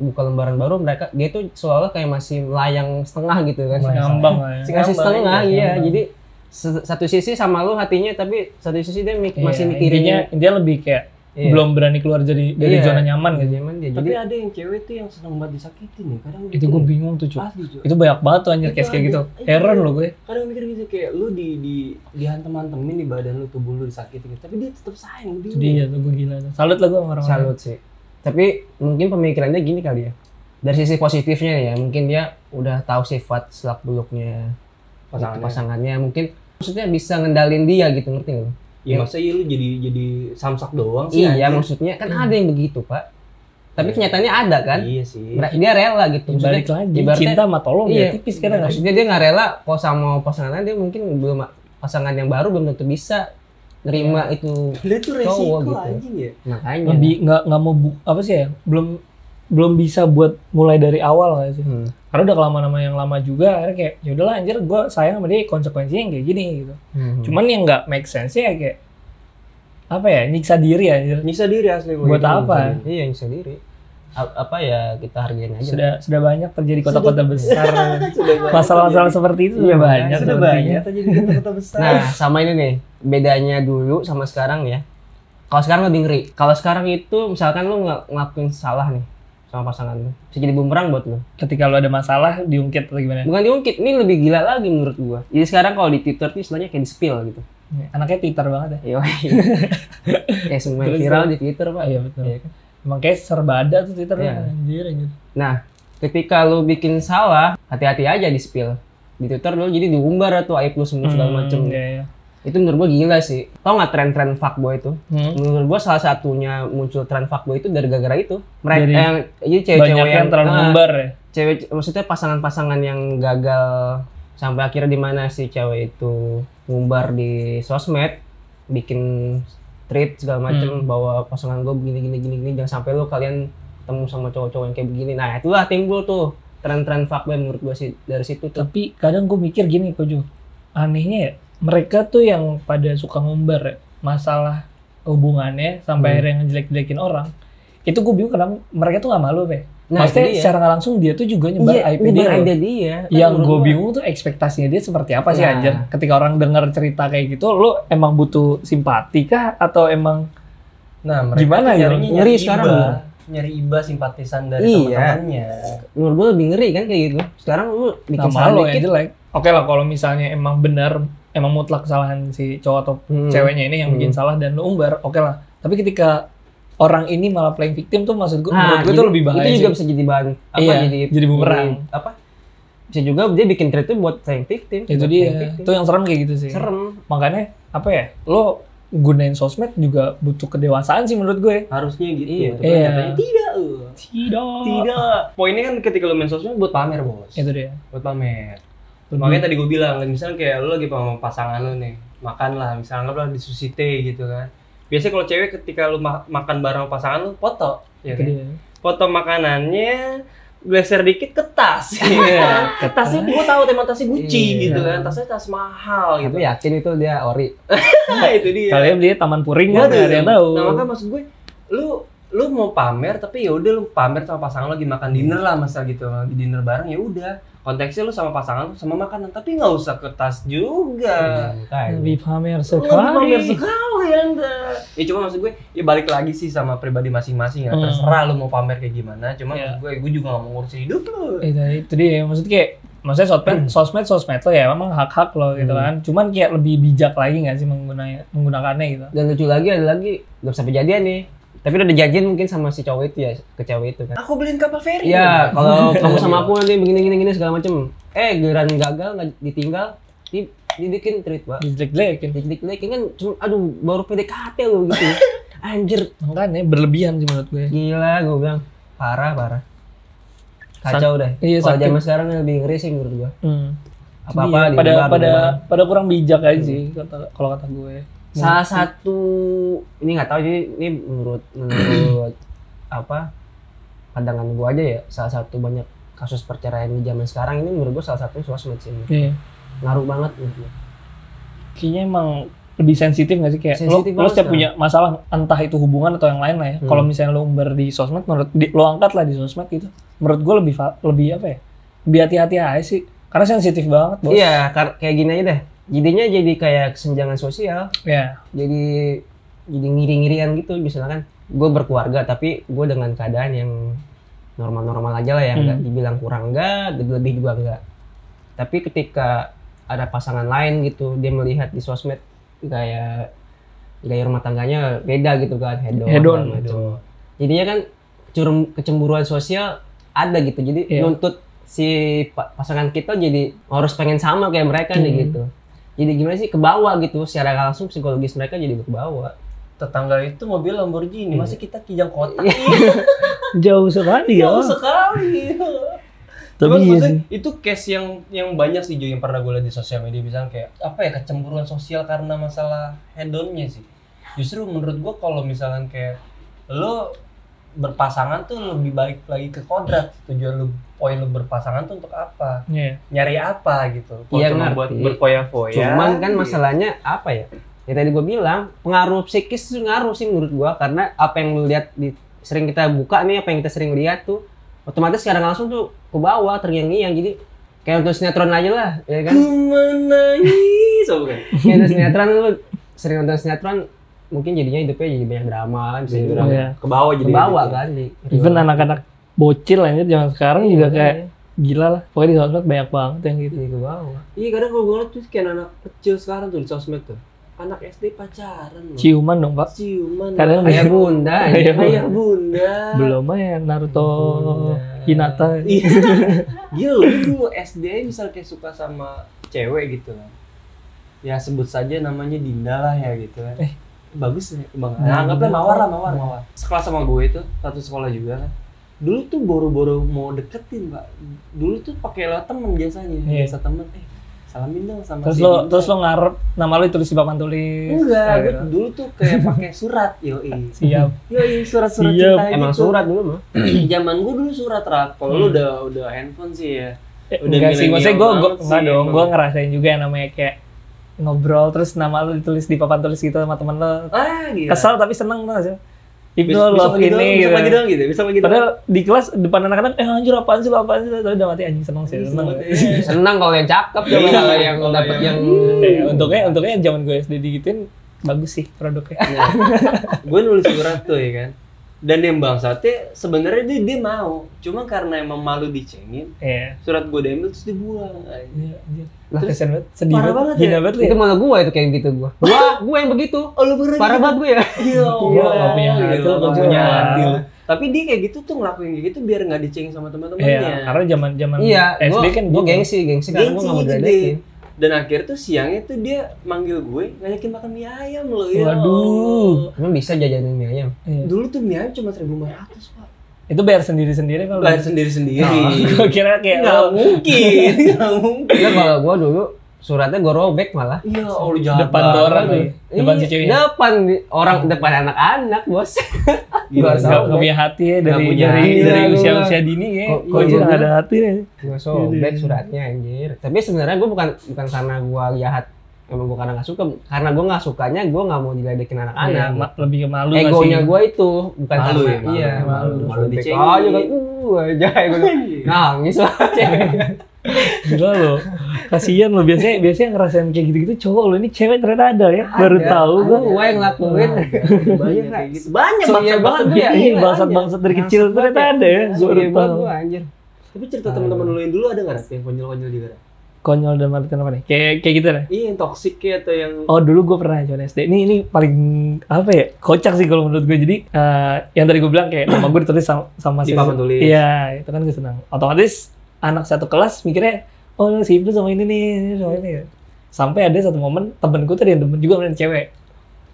Speaker 2: buka lembaran baru mereka dia tuh seolah kayak masih melayang setengah gitu kan
Speaker 1: ngambang lah ya
Speaker 2: Si ngasih setengah
Speaker 1: iya,
Speaker 2: iya
Speaker 1: ngambang.
Speaker 2: jadi se- satu sisi sama lu hatinya tapi satu sisi dia mik- masih
Speaker 1: Iya,
Speaker 2: mikirin
Speaker 1: intinya dia lebih kayak
Speaker 2: Iya.
Speaker 1: belum berani keluar jadi dari
Speaker 2: Iya.
Speaker 1: zona nyaman
Speaker 2: Nggak
Speaker 1: gitu
Speaker 2: nyaman dia
Speaker 3: tapi
Speaker 2: jadi
Speaker 3: ada yang cewek tuh yang seneng banget disakitin ya kadang
Speaker 1: itu
Speaker 3: gitu
Speaker 1: gue
Speaker 3: ya.
Speaker 1: bingung tuh cuy
Speaker 3: Asli, Cuk.
Speaker 1: itu banyak banget tuh anjir
Speaker 3: Itu
Speaker 1: case kayak
Speaker 3: ada-
Speaker 1: gitu
Speaker 3: iya.
Speaker 1: heran loh gue
Speaker 3: kadang mikir gitu kayak lu di di dihantem-hantemin di badan lu tubuh lu disakitin gitu tapi dia tetap sayang
Speaker 1: itu
Speaker 2: ya,
Speaker 3: dia
Speaker 1: dia tuh gue gila tuh. salut lah gue sama orang-orang
Speaker 2: salut sih tapi mungkin pemikirannya gini kali ya dari sisi positifnya nih ya mungkin dia udah tahu sifat selak beluknya pasangannya,
Speaker 3: pasangannya
Speaker 2: mungkin maksudnya bisa ngendalin dia gitu ngerti nggak lu?
Speaker 3: ya masa iya lu jadi jadi samsak doang sih
Speaker 2: iya
Speaker 3: anjing.
Speaker 2: maksudnya kan ada yang begitu pak tapi
Speaker 3: Iya.
Speaker 2: kenyataannya ada kan
Speaker 3: iya sih
Speaker 2: Mere- dia rela gitu maksudnya
Speaker 1: balik lagi
Speaker 2: ibaratnya-
Speaker 1: cinta sama tolong
Speaker 2: Iya.
Speaker 1: ya tipis kadang nggak sih?
Speaker 2: maksudnya dia nggak rela kalau sama pasangannya dia mungkin belum pasangan yang baru belum tentu bisa nerima itu
Speaker 3: dia tuh resiko
Speaker 2: Cowok gitu.
Speaker 3: anjing
Speaker 2: Iya.
Speaker 3: ya
Speaker 2: makanya
Speaker 1: lebih nggak nggak mau bu- apa sih ya belum belum bisa buat mulai dari awal nggak sih
Speaker 2: Hmm.
Speaker 1: karena udah kelamaan sama yang lama juga akhirnya kayak ya udahlah anjir gue sayang sama dia konsekuensinya yang kayak gini gitu
Speaker 2: Hmm.
Speaker 1: cuman yang nggak make sense ya kayak apa ya nyiksa diri anjir
Speaker 3: nyiksa diri asli gua
Speaker 1: Buat
Speaker 3: gitu,
Speaker 1: apa?
Speaker 3: nyiksa diri.
Speaker 2: iya yang sendiri A- apa ya kita hargain aja
Speaker 1: sudah sudah banyak terjadi kota-kota besar
Speaker 3: Sudah banyak
Speaker 1: masalah-masalah seperti itu sudah
Speaker 2: Iya,
Speaker 1: banyak
Speaker 3: sudah
Speaker 1: sepertinya.
Speaker 3: banyak aja di kota besar
Speaker 2: nah sama ini nih bedanya dulu sama sekarang ya kalau sekarang lebih ngeri kalau sekarang itu misalkan lu nggak ngelakuin salah nih sama pasangan lu bisa jadi bumerang buat lu
Speaker 1: ketika lu ada masalah diungkit atau gimana
Speaker 2: bukan diungkit ini lebih gila lagi menurut gua jadi sekarang kalau di twitter tuh istilahnya kayak di spill gitu
Speaker 1: Iya, anaknya twitter banget ya
Speaker 2: Yoi. ya semua yang
Speaker 1: Terus,
Speaker 2: viral di twitter pak
Speaker 1: oh, iya betul
Speaker 2: Iya kan?
Speaker 1: emang kayak serba ada tuh twitter
Speaker 2: Iya.
Speaker 1: anjir anjir
Speaker 2: ketika lu bikin salah hati-hati aja di spill di twitter dulu jadi diumbar tuh aib lu semua segala
Speaker 1: Hmm,
Speaker 2: macem
Speaker 1: iya, iya.
Speaker 2: itu menurut gua gila sih tau nggak tren-tren fuckboy itu
Speaker 1: Hmm.
Speaker 2: menurut gua salah satunya muncul tren fuckboy itu dari gara-gara itu mereka
Speaker 1: Dari
Speaker 2: yang jadi
Speaker 1: banyak
Speaker 2: cewek-cewek
Speaker 1: yang terlalu
Speaker 2: ah,
Speaker 1: ngumbar ya
Speaker 2: cewek maksudnya pasangan-pasangan yang gagal sampai akhirnya di mana si cewek itu ngumbar di sosmed bikin tweet segala
Speaker 1: Hmm.
Speaker 2: macem bahwa pasangan gue begini gini gini gini jangan sampai lu kalian ketemu sama cowok-cowok yang kayak begini nah itulah timbul tuh tren-tren fuckboy menurut gue sih dari situ tuh
Speaker 1: tapi kadang gue mikir gini Kojo anehnya ya mereka tuh yang pada suka ngumbar ya, masalah hubungannya sampai
Speaker 2: Hmm.
Speaker 1: akhirnya ngejelek-jelekin orang itu gue bingung kenapa mereka tuh nggak malu be
Speaker 2: nah itu
Speaker 1: maksudnya
Speaker 2: dia.
Speaker 1: secara nggak langsung dia tuh juga nyebar
Speaker 2: iya,
Speaker 1: IP dia
Speaker 2: nyebar
Speaker 1: loh.
Speaker 2: aib dia Kan
Speaker 1: yang
Speaker 2: menurut
Speaker 1: gue
Speaker 2: gua-
Speaker 1: bingung tuh ekspektasinya dia seperti apa sih
Speaker 2: Nah.
Speaker 1: anjir ketika orang dengar cerita kayak gitu lo emang butuh simpati kah atau emang
Speaker 3: nah tuh
Speaker 1: Gimana ya?
Speaker 3: nyarinya
Speaker 2: Nyari sekarang
Speaker 3: iba.
Speaker 2: loh.
Speaker 3: nyari iba simpatisan dari
Speaker 2: Iya.
Speaker 3: teman-temannya
Speaker 2: menurut gue lebih ngeri kan kayak gitu sekarang lu bikin
Speaker 1: nama
Speaker 2: salah
Speaker 1: lo yang
Speaker 2: dikit
Speaker 1: ya, jelek oke lah kalau misalnya emang benar emang mutlak kesalahan si cowok atau
Speaker 2: Hmm.
Speaker 1: ceweknya ini yang bikin
Speaker 2: Hmm.
Speaker 1: salah dan lu umbar, oke lah. Tapi ketika orang ini malah playing victim tuh maksud gue,
Speaker 2: Nah,
Speaker 1: menurut gue
Speaker 2: jadi-
Speaker 1: tuh lebih bahaya
Speaker 2: itu juga
Speaker 1: sih.
Speaker 2: bisa jadi bahan apa
Speaker 1: Iya,
Speaker 2: jadi
Speaker 1: jadi bumerang.
Speaker 2: apa bisa juga dia bikin thread itu buat playing victim
Speaker 1: Itu
Speaker 2: buat
Speaker 1: dia,
Speaker 2: playing victim.
Speaker 1: itu yang serem kayak gitu sih.
Speaker 2: serem
Speaker 1: Makanya apa ya, lo gunain sosmed juga butuh kedewasaan sih menurut gue.
Speaker 3: harusnya gitu
Speaker 2: Iya.
Speaker 3: tapi
Speaker 1: Iya.
Speaker 3: katanya tidak uh.
Speaker 1: Tidak.
Speaker 3: tidak poinnya kan ketika lo main sosmed buat pamer bos
Speaker 1: Itu dia.
Speaker 3: buat pamer makanya tadi gue bilang misalnya kayak lo lagi sama pasangan lo nih makan lah misalnya anggaplah di sushi teh gitu kan biasanya kalau cewek ketika lo ma- makan bareng sama pasangan lo foto ya
Speaker 1: Itu
Speaker 3: kan?
Speaker 1: dia.
Speaker 3: foto makanannya geser dikit ke tas Iya. tasnya gue tahu teman tasnya Gucci
Speaker 2: Iya.
Speaker 3: gitu kan tasnya tas mahal gitu
Speaker 2: Tapi yakin itu dia ori.
Speaker 3: nah itu dia
Speaker 1: Kalian beli taman
Speaker 2: Iya,
Speaker 1: puring kan
Speaker 3: Waduh.
Speaker 1: nggak ada yang tahu.
Speaker 3: Nah, makanya maksud gue, lu lu mau pamer tapi ya udah lu pamer sama pasangan lu lagi
Speaker 1: Hmm.
Speaker 3: makan dinner lah masa gitu lagi dinner bareng ya udah konteksnya lu sama pasangan lu sama makanan tapi nggak usah ke tas
Speaker 2: Iya,
Speaker 3: juga
Speaker 1: Lebih
Speaker 3: lu
Speaker 1: pamer
Speaker 3: lagi
Speaker 1: Iya. sekali.
Speaker 3: pamer sekali anda ya cuma maksud gue ya balik lagi sih sama pribadi masing-masing ya
Speaker 1: Hmm.
Speaker 3: terserah lu mau pamer kayak gimana cuma
Speaker 1: Iya.
Speaker 3: maksud gue gue juga nggak mau ngurusin hidup lu
Speaker 1: Itu, Eh, itu dia. Maksudnya kayak maksudnya sosmed, sosmed, sosmed lo ya emang hak-hak lo gitu
Speaker 3: Hmm.
Speaker 1: kan. Cuman kayak lebih bijak lagi nggak sih menggunanya, menggunakannya gitu.
Speaker 2: Dan lucu lagi ada lagi nggak bisa kejadian nih. Tapi udah dijanjin mungkin sama si cowok itu ya, ke cewek itu kan.
Speaker 3: aku beliin kapal feri
Speaker 2: Iya, kalau kamu sama aku nanti begini gini gini segala macem. Eh, giliran gagal nggak ditinggal, di dibikin treat, Pak.
Speaker 1: Dijelek-jelekin.
Speaker 2: Dik-dik kan cuma aduh baru PDKT lu gitu. Anjir,
Speaker 1: Makanya berlebihan sih menurut gue.
Speaker 2: gila gue bilang. Parah, parah. Kacau deh.
Speaker 1: Iya,
Speaker 2: Kalau
Speaker 1: sakit.
Speaker 2: zaman sekarang lebih ngeri sih menurut gua.
Speaker 1: Hmm.
Speaker 2: Apa-apa
Speaker 1: Iya, pada
Speaker 2: diumbar,
Speaker 1: pada
Speaker 2: diumbar.
Speaker 1: pada kurang bijak aja sih kata- kalau kata gue. Nah,
Speaker 2: salah satu ini nggak tahu jadi ini menurut menurut
Speaker 1: iya.
Speaker 2: apa pandangan gua aja ya salah satu banyak kasus perceraian di zaman sekarang ini menurut gua salah satunya sosmed sih
Speaker 1: Iya.
Speaker 2: ngaruh banget menurut gua.
Speaker 1: Kayaknya emang lebih sensitif nggak sih kayak lo,
Speaker 2: Sensitif
Speaker 1: lo
Speaker 2: banget
Speaker 1: setiap
Speaker 2: sekarang.
Speaker 1: punya masalah entah itu hubungan atau yang lain lah ya.
Speaker 2: Hmm.
Speaker 1: Kalau misalnya lo umbar di sosmed menurut di- lo angkat lah di sosmed gitu. Menurut gue lebih fa- lebih apa ya? Lebih hati-hati aja sih. Karena sensitif banget, Bos.
Speaker 2: iya kar- kayak gini aja deh jadinya jadi kayak kesenjangan sosial
Speaker 1: Iya.
Speaker 2: jadi jadi ngiri-ngirian gitu misalkan gue berkeluarga tapi gue dengan keadaan yang normal-normal aja lah ya
Speaker 1: Hmm.
Speaker 2: nggak dibilang kurang enggak lebih juga enggak tapi ketika ada pasangan lain gitu dia melihat di sosmed kayak gaya rumah tangganya beda gitu kan hedon
Speaker 1: Hedon,
Speaker 2: segala macam. jadinya kan curum- kecemburuan sosial ada gitu jadi
Speaker 1: Iya.
Speaker 2: nuntut si pa- pasangan kita jadi harus pengen sama kayak mereka nih
Speaker 1: Hmm.
Speaker 2: gitu jadi gimana sih ke bawah gitu secara nggak langsung psikologis mereka jadi ke bawah
Speaker 1: Oh,
Speaker 3: tetangga itu mobil
Speaker 2: Iya.
Speaker 3: Lamborghini masih kita kijang kotak Iya,
Speaker 1: Jauh sekali ya.
Speaker 3: jauh sekali
Speaker 1: Tapi
Speaker 3: Cuman
Speaker 1: iya
Speaker 3: maksudnya
Speaker 1: sih.
Speaker 3: itu case yang yang banyak sih Jo, yang pernah gue lihat di sosial media misalnya kayak apa ya kecemburuan sosial karena masalah hedonnya sih. Justru menurut gue kalau misalkan kayak lo berpasangan tuh lebih baik lagi ke kodrat tujuan lo poin lo berpasangan tuh untuk apa
Speaker 1: Iya.
Speaker 3: nyari apa gitu Kalau
Speaker 2: Iya,
Speaker 3: cuma
Speaker 2: ngerti.
Speaker 3: buat berfoya-foya
Speaker 1: ya?
Speaker 2: cuman kan
Speaker 1: Iya.
Speaker 3: gitu.
Speaker 2: masalahnya apa ya ya tadi gue bilang pengaruh psikis itu ngaruh sih menurut gua karena apa yang lu lihat di sering kita buka nih apa yang kita sering lihat tuh otomatis secara nggak langsung tuh ke bawah terngiang-ngiang jadi kayak untuk sinetron aja lah ya kan
Speaker 3: Ku menangis
Speaker 2: Iya.
Speaker 3: apa bukan?
Speaker 2: kayak nonton sinetron lu sering nonton sinetron mungkin jadinya hidupnya jadi banyak drama kan bisa jadi drama
Speaker 1: Iya.
Speaker 3: ke bawah
Speaker 2: ke
Speaker 3: jadi
Speaker 2: bawah
Speaker 3: gitu.
Speaker 2: kan di
Speaker 1: Even anak-anak bocil aja zaman sekarang juga kayak gila lah. Pokoknya di sosmed banyak banget yang gitu.
Speaker 2: jadi ke bawah
Speaker 3: Iya. iya kadang kalau gue liat tuh kayak anak kecil sekarang tuh di sosmed tuh anak SD pacaran loh
Speaker 1: Ciuman dong, Pak.
Speaker 3: ciuman
Speaker 1: Kadang
Speaker 2: ayah bunda
Speaker 1: Ayah
Speaker 2: anjing. gitu.
Speaker 3: Ayah bunda.
Speaker 1: belum aja Naruto
Speaker 2: Bunda.
Speaker 1: Hinata.
Speaker 3: Iya. Gila lu dulu SD aja misal kayak suka sama cewek gitu kan. Ya sebut saja namanya Dinda lah ya gitu kan.
Speaker 1: Eh.
Speaker 3: Bagus ya Bang.
Speaker 1: Nah,
Speaker 3: Nah, anggaplah
Speaker 1: Dinda.
Speaker 3: mawar lah mawar mawar. Sekelas sama gue itu satu sekolah juga kan. Dulu tuh boro-boro mau deketin, Pak. Dulu tuh pakai lewat temen biasanya,
Speaker 1: Iya.
Speaker 3: biasa temen. Eh, salamin dong sama
Speaker 1: Terus
Speaker 3: si
Speaker 1: lo
Speaker 3: Dinda.
Speaker 1: terus lo ngarep nama lo ditulis di papan tulis.
Speaker 3: enggak,
Speaker 1: Nah,
Speaker 3: gue
Speaker 1: gitu.
Speaker 3: dulu tuh kayak pakai surat, yoi.
Speaker 1: Siap.
Speaker 3: Yoi, surat-surat
Speaker 1: Siap.
Speaker 3: cinta
Speaker 2: emang
Speaker 3: gitu.
Speaker 2: surat dulu mah
Speaker 3: zaman gue dulu surat rap kalau lu
Speaker 1: Hmm.
Speaker 3: udah udah handphone sih ya
Speaker 1: Eh,
Speaker 3: Udah
Speaker 1: enggak sih,
Speaker 3: milenial
Speaker 1: maksudnya gue gue
Speaker 3: banget sih,
Speaker 1: enggak dong,
Speaker 3: emang.
Speaker 1: gue ngerasain juga yang namanya kayak ngobrol terus nama lo ditulis di papan tulis gitu sama temen lo.
Speaker 3: ah gila
Speaker 1: Kesal tapi seneng tuh hasil. Ibnu
Speaker 3: Bes-
Speaker 1: love
Speaker 3: lagi dong,
Speaker 1: ini
Speaker 3: besok
Speaker 1: gitu.
Speaker 3: lagi dong gitu besok lagi dong
Speaker 1: Padahal di kelas depan anak-anak eh anjir apaan sih lo apaan sih lo tapi udah mati anjing seneng sih
Speaker 3: Ih,
Speaker 1: seneng.
Speaker 3: selamat ya.
Speaker 2: senang kalau yang cakep coba
Speaker 3: Iya,
Speaker 2: kalau yang
Speaker 3: kalau
Speaker 2: dapat yang
Speaker 3: yang-
Speaker 1: Eh, untuknya untuknya zaman gue SD digituin bagus sih produknya.
Speaker 3: Nah, gue nulis surat tuh ya kan dan yang bangsatnya sebenarnya dia dia mau cuma karena emang malu dicengin
Speaker 1: Iya.
Speaker 3: surat gue diambil terus dibuang anjing.
Speaker 1: Iya, anjir.
Speaker 2: Lah,
Speaker 1: Terus kesian banget, sedih
Speaker 3: parah
Speaker 1: banget,
Speaker 3: banget ya.
Speaker 1: gila banget lu ya.
Speaker 2: itu malah gua itu kayak gitu gua gua gua yang begitu
Speaker 3: oh lu pernah
Speaker 2: parah
Speaker 3: gitu?
Speaker 2: banget gua ya
Speaker 3: Iya,
Speaker 1: Gila, nggak punya
Speaker 3: Allah,
Speaker 1: hati,
Speaker 3: gila,
Speaker 1: nggak
Speaker 3: nggak
Speaker 1: punya
Speaker 3: punya
Speaker 1: hati.
Speaker 3: hati lu. tapi dia kayak gitu tuh ngelakuin kayak gitu biar nggak dicengin sama teman-temannya
Speaker 1: Iya, karena zaman zaman
Speaker 2: iya
Speaker 1: SD
Speaker 2: gua
Speaker 1: kan
Speaker 2: gua
Speaker 1: gitu.
Speaker 2: gengsi gengsi kan gua nak mau
Speaker 3: Gengsi, gede.
Speaker 2: diledekin
Speaker 3: gitu dan akhirnya tuh siangnya tuh dia manggil gue ngajakin makan mie ayam loh ya
Speaker 1: Waduh.
Speaker 2: Emang bisa jajanin ya? mie ayam?
Speaker 1: Iya.
Speaker 3: dulu tuh mie ayam cuma 1500 pak
Speaker 1: Itu bayar sendiri-sendiri kalau.
Speaker 3: bayar sendiri sendiri
Speaker 1: Gue kira kayak
Speaker 3: Nah. nggak mungkin nggak mungkin
Speaker 2: Enggak kalau gua dulu suratnya gua robek malah.
Speaker 3: iya oh lu jahat
Speaker 1: depan
Speaker 3: banget.
Speaker 1: orang nih, depan si
Speaker 2: Iya,
Speaker 1: cewek.
Speaker 2: Depan di- orang depan anak-anak, Bos. Gua
Speaker 3: Gila, gila.
Speaker 1: Gak, punya hati ya dari
Speaker 3: punya
Speaker 1: dari
Speaker 3: hati.
Speaker 1: dari
Speaker 2: Iya,
Speaker 1: usia
Speaker 2: gua-
Speaker 1: usia dini ya.
Speaker 2: Kok-
Speaker 1: Kok
Speaker 2: kok
Speaker 1: dia
Speaker 2: gua-
Speaker 1: nggak ada hati ya?
Speaker 2: Gua sobek suratnya anjir. Tapi sebenarnya gua bukan bukan karena gua jahat. Emang gua karena nggak suka, karena gua nggak sukanya gua nggak mau diledekin
Speaker 1: Iya,
Speaker 2: anak-anak.
Speaker 1: ma- lebih ke malu nggak
Speaker 2: Egonya
Speaker 1: sih?
Speaker 2: gua itu bukan
Speaker 3: Malu
Speaker 2: karena
Speaker 3: ya, malu.
Speaker 2: iya
Speaker 1: Malu.
Speaker 3: Malu
Speaker 2: Sobek
Speaker 3: dicengin.
Speaker 2: aja kan, uh aja gua
Speaker 3: Nah,
Speaker 2: nangis lah cewek.
Speaker 1: Gila lo. Kasihan lo biasanya biasanya ngerasain kayak gitu-gitu cowok lo ini cewek ternyata ada ya. Baru
Speaker 2: Ada,
Speaker 1: tahu
Speaker 2: ada. Iya,
Speaker 1: gua.
Speaker 2: Gua yang lakuin.
Speaker 3: banyak kayak gitu banyak
Speaker 2: Soalnya
Speaker 3: banget
Speaker 2: banget gua ya.
Speaker 1: Iya,
Speaker 2: iya,
Speaker 1: bangsat-bangsat dari kecil
Speaker 2: Bangsat
Speaker 1: ternyata
Speaker 2: banget
Speaker 1: ada ya. Baru
Speaker 2: Sorry banget
Speaker 1: tahu.
Speaker 2: gua anjir.
Speaker 3: tapi cerita teman-teman lu yang dulu ada nggak Rat? yang konyol-konyol juga Rat?
Speaker 1: Konyol dan arti apa nih? Kayak kayak gitu deh.
Speaker 3: iya yang toksik kayak atau yang
Speaker 1: Oh dulu gue pernah John SD. Ini ini paling apa ya? Kocak sih kalau menurut gue. Jadi eh, yang tadi gue bilang kayak nama gue ditulis sama, sama
Speaker 3: Di papan tulis.
Speaker 1: Iya, itu kan gue senang. Otomatis anak satu kelas mikirnya, oh si itu sama ini nih, ini sama ini. ya." Sampai ada satu momen temen gue tuh ada yang demen juga main cewek.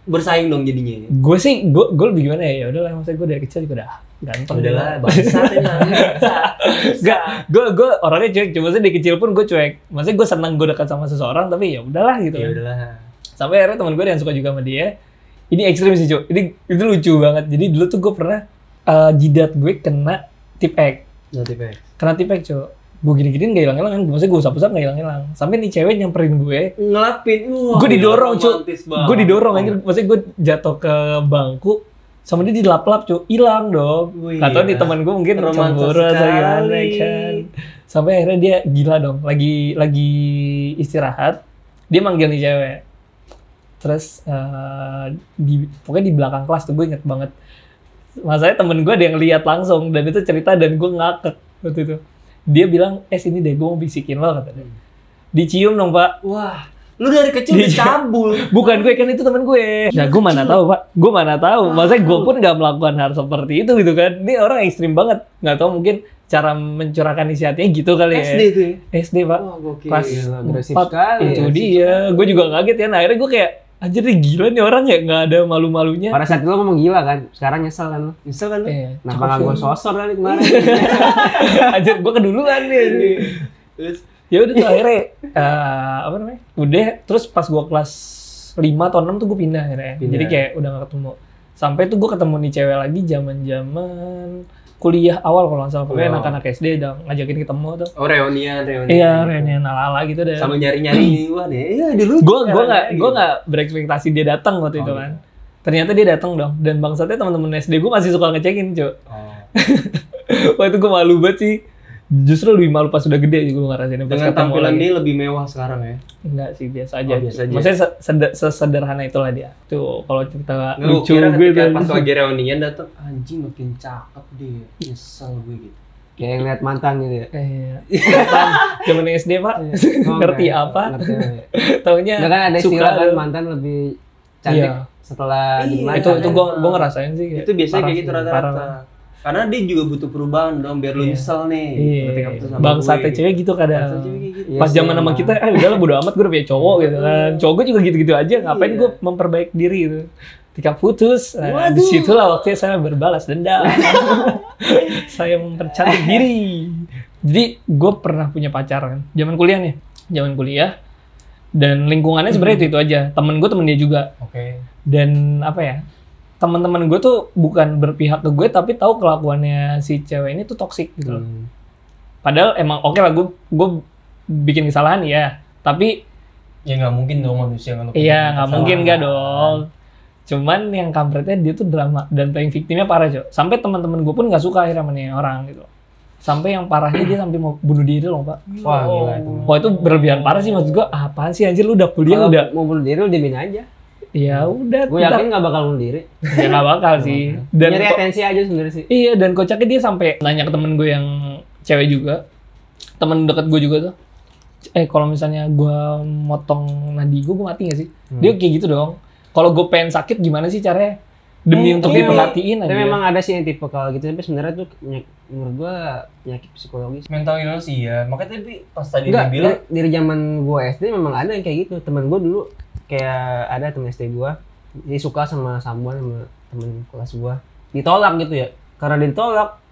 Speaker 3: bersaing dong jadinya
Speaker 1: Gue sih gue gue lebih gimana ya? Ya udahlah, maksudnya gue dari kecil juga udah ganteng.
Speaker 3: Ya udahlah bangsat emang
Speaker 1: Gak, gue gue orangnya cuek. Cuma sih dari kecil pun gue cuek. Maksudnya gue senang gue dekat sama seseorang, tapi ya udahlah gitu.
Speaker 3: ya udahlah
Speaker 1: sampai akhirnya teman gue ada yang suka juga sama dia ini ekstrim sih cuy ini itu lucu banget jadi dulu tuh gue pernah eh, jidat gue kena tip ek
Speaker 3: nanti pe
Speaker 1: kena tip ek cuy gue gini giniin gak hilang hilang kan maksudnya gue usap usap gak hilang hilang sampai nih cewek nyamperin gue
Speaker 3: ngelapin
Speaker 1: Gua didorong, Cuk. gue didorong anjir maksudnya gue jatuh ke bangku sama dia dilap lap cuy hilang dong Gak tau
Speaker 3: ya.
Speaker 1: nih teman gue mungkin
Speaker 3: Romantis
Speaker 1: cemburu atau gimana
Speaker 3: sekali.
Speaker 1: kan. Sampai akhirnya dia gila dong, lagi lagi istirahat, dia manggil nih cewek. Terus eh, di pokoknya di belakang kelas tuh gue inget banget. Masalahnya temen gue ada yang lihat langsung dan itu cerita dan gue ngakak waktu itu. Dia bilang, eh sini deh gue mau bisikin lo katanya. Dicium dong pak.
Speaker 3: wah lu dari kecil
Speaker 1: Di-
Speaker 3: dicabul
Speaker 1: Bukan gue kan itu temen gue. Nah gue mana tahu pak. Gue mana tahu. Maksudnya gue pun nggak melakukan hal seperti itu gitu kan. Ini orang ekstrim banget. Nggak tahu mungkin cara mencurahkan isi hatinya gitu kali ya.
Speaker 3: SD itu ya
Speaker 1: SD pak.
Speaker 3: wah gokil
Speaker 1: Pas
Speaker 3: Gila, bro.
Speaker 2: Iya, agresif
Speaker 1: empat iya.
Speaker 2: sekali,
Speaker 1: itu
Speaker 2: agresif
Speaker 1: dia. Gue juga kaget ya. Nah, akhirnya gue kayak anjir nih gila nih orang ya nggak ada malu-malunya.
Speaker 2: Pada saat itu lo ngomong gila kan, sekarang nyesel kan lo.
Speaker 3: nyesel kan lu
Speaker 1: Eh,
Speaker 2: Nah, Kenapa nggak gue sosor kali kemarin?
Speaker 1: Iya. anjir gue keduluan nih. anjir.
Speaker 3: terus
Speaker 1: ya udah tuh akhirnya eh, apa namanya udah terus pas gua kelas 5 atau 6 tuh gue pindah akhirnya
Speaker 3: Pindah.
Speaker 1: jadi kayak udah gak ketemu sampai tuh gue ketemu nih cewek lagi zaman zaman kuliah awal kalau nggak salah pokoknya
Speaker 3: Kuliah awal.
Speaker 1: anak-anak SD udah ngajakin ketemu tuh
Speaker 3: oh reunian reunian
Speaker 1: iya reunian ala-ala gitu deh
Speaker 3: sama nyari nyari nih wah deh iya dulu
Speaker 1: gue gue
Speaker 3: caranya
Speaker 1: nggak gue
Speaker 3: gitu.
Speaker 1: nggak berekspektasi dia datang
Speaker 3: Oh,
Speaker 1: waktu itu
Speaker 3: iya.
Speaker 1: kan ternyata dia datang dong dan bangsatnya teman-teman SD gue masih suka ngecekin cuy
Speaker 3: Oh.
Speaker 1: waktu itu gue malu banget sih justru lebih malu pas udah gede gue ngerasain pas
Speaker 3: dengan
Speaker 1: ketemu
Speaker 3: tampilan
Speaker 1: lagi.
Speaker 3: dia lebih mewah sekarang ya
Speaker 1: Enggak sih biasa aja.
Speaker 3: Oh, biasa aja.
Speaker 1: Maksudnya se- seder- sesederhana itulah dia. Tuh kalau cerita
Speaker 3: Nggak, gua
Speaker 1: lucu
Speaker 3: kira
Speaker 1: gue
Speaker 3: ketika
Speaker 1: tuh.
Speaker 3: pas lagi reunian datang anjing makin cakep dia nyesel gue gitu
Speaker 2: Kayak ngeliat mantan gitu ya.
Speaker 1: Kayak mantan zaman SD pak
Speaker 3: Iya.
Speaker 2: Oh,
Speaker 1: ngerti
Speaker 2: nggak,
Speaker 1: apa
Speaker 2: Ngerti apa.
Speaker 1: taunya
Speaker 2: Nggak kan ada
Speaker 1: suka
Speaker 2: istilah kan
Speaker 1: ada.
Speaker 2: mantan lebih cantik
Speaker 1: Iya.
Speaker 2: setelah kan.
Speaker 3: Iya,
Speaker 2: di mana.
Speaker 1: itu itu gue
Speaker 3: Parah.
Speaker 1: gue ngerasain sih kayak
Speaker 3: itu biasanya
Speaker 1: Iya, parah
Speaker 3: kayak gitu
Speaker 1: sih,
Speaker 3: rata-rata
Speaker 1: parah.
Speaker 3: karena dia juga butuh perubahan dong biar lu
Speaker 1: Iya.
Speaker 3: nyesel nih
Speaker 1: iya
Speaker 3: Ketika putus sama
Speaker 1: bang
Speaker 3: gue,
Speaker 1: sate
Speaker 3: gitu.
Speaker 1: cewek gitu
Speaker 3: Bangsa
Speaker 1: kadang
Speaker 3: cewek kayak gitu.
Speaker 2: Iya
Speaker 1: pas
Speaker 2: sih,
Speaker 1: zaman sama
Speaker 2: emang.
Speaker 1: kita eh udahlah bodo amat gue udah punya cowok gitu kan cowok gue juga gitu-gitu aja ngapain
Speaker 3: Iya.
Speaker 1: gue memperbaik diri gitu ketika putus nah,
Speaker 3: Waduh.
Speaker 1: disitulah waktunya saya berbalas dendam saya mempercantik diri jadi gue pernah punya pacar kan zaman kuliah nih zaman kuliah dan lingkungannya sebenarnya itu itu aja temen gue temen dia juga
Speaker 3: oke
Speaker 1: dan apa ya teman-teman gue tuh bukan berpihak ke gue tapi tahu kelakuannya si cewek ini tuh toksik gitu loh
Speaker 3: Hmm.
Speaker 1: padahal emang oke lah gue gue bikin kesalahan ya tapi
Speaker 3: ya nggak mungkin dong manusia kalau
Speaker 1: Iya, nggak mungkin nggak dong. Cuman yang kampretnya dia tuh drama dan playing victimnya parah cuy. Sampai teman-teman gue pun nggak suka akhirnya sama nih orang gitu. Sampai yang parahnya dia sampai mau bunuh diri loh pak.
Speaker 2: Wah, gila itu.
Speaker 1: Wah itu berlebihan parah sih maksud gue. Apaan sih anjir lu udah kuliah
Speaker 2: Kalau
Speaker 1: udah?
Speaker 2: mau bunuh diri lu diemin aja.
Speaker 1: Ya udah.
Speaker 2: Gue
Speaker 1: ntar-
Speaker 2: yakin nggak bakal bunuh diri.
Speaker 1: ya nggak bakal sih. Dan
Speaker 2: Nyari
Speaker 1: ko-
Speaker 2: atensi aja sebenarnya sih.
Speaker 1: iya dan kocaknya dia sampai nanya ke temen gue yang cewek juga. Temen deket gue juga tuh. Eh kalau misalnya gue motong nadi gue, gue mati gak sih? Dia kayak gitu dong. Kalau gue pengen sakit gimana sih caranya? demi untuk
Speaker 2: Tapi-
Speaker 1: diperhatiin aja
Speaker 2: Tapi memang ada sih yang tipe kalau gitu, tapi sebenarnya tuh penyakit, menurut gua penyakit psikologis.
Speaker 4: mental illness iya makanya tapi pas tadi
Speaker 2: Enggak,
Speaker 4: dia bilang
Speaker 2: dari, dari zaman gua SD memang ada yang kayak gitu. Temen gua dulu kayak ada temen SD gua, dia suka sama Samuel sama temen kelas gua. Ditolak gitu ya. Karena ditolak,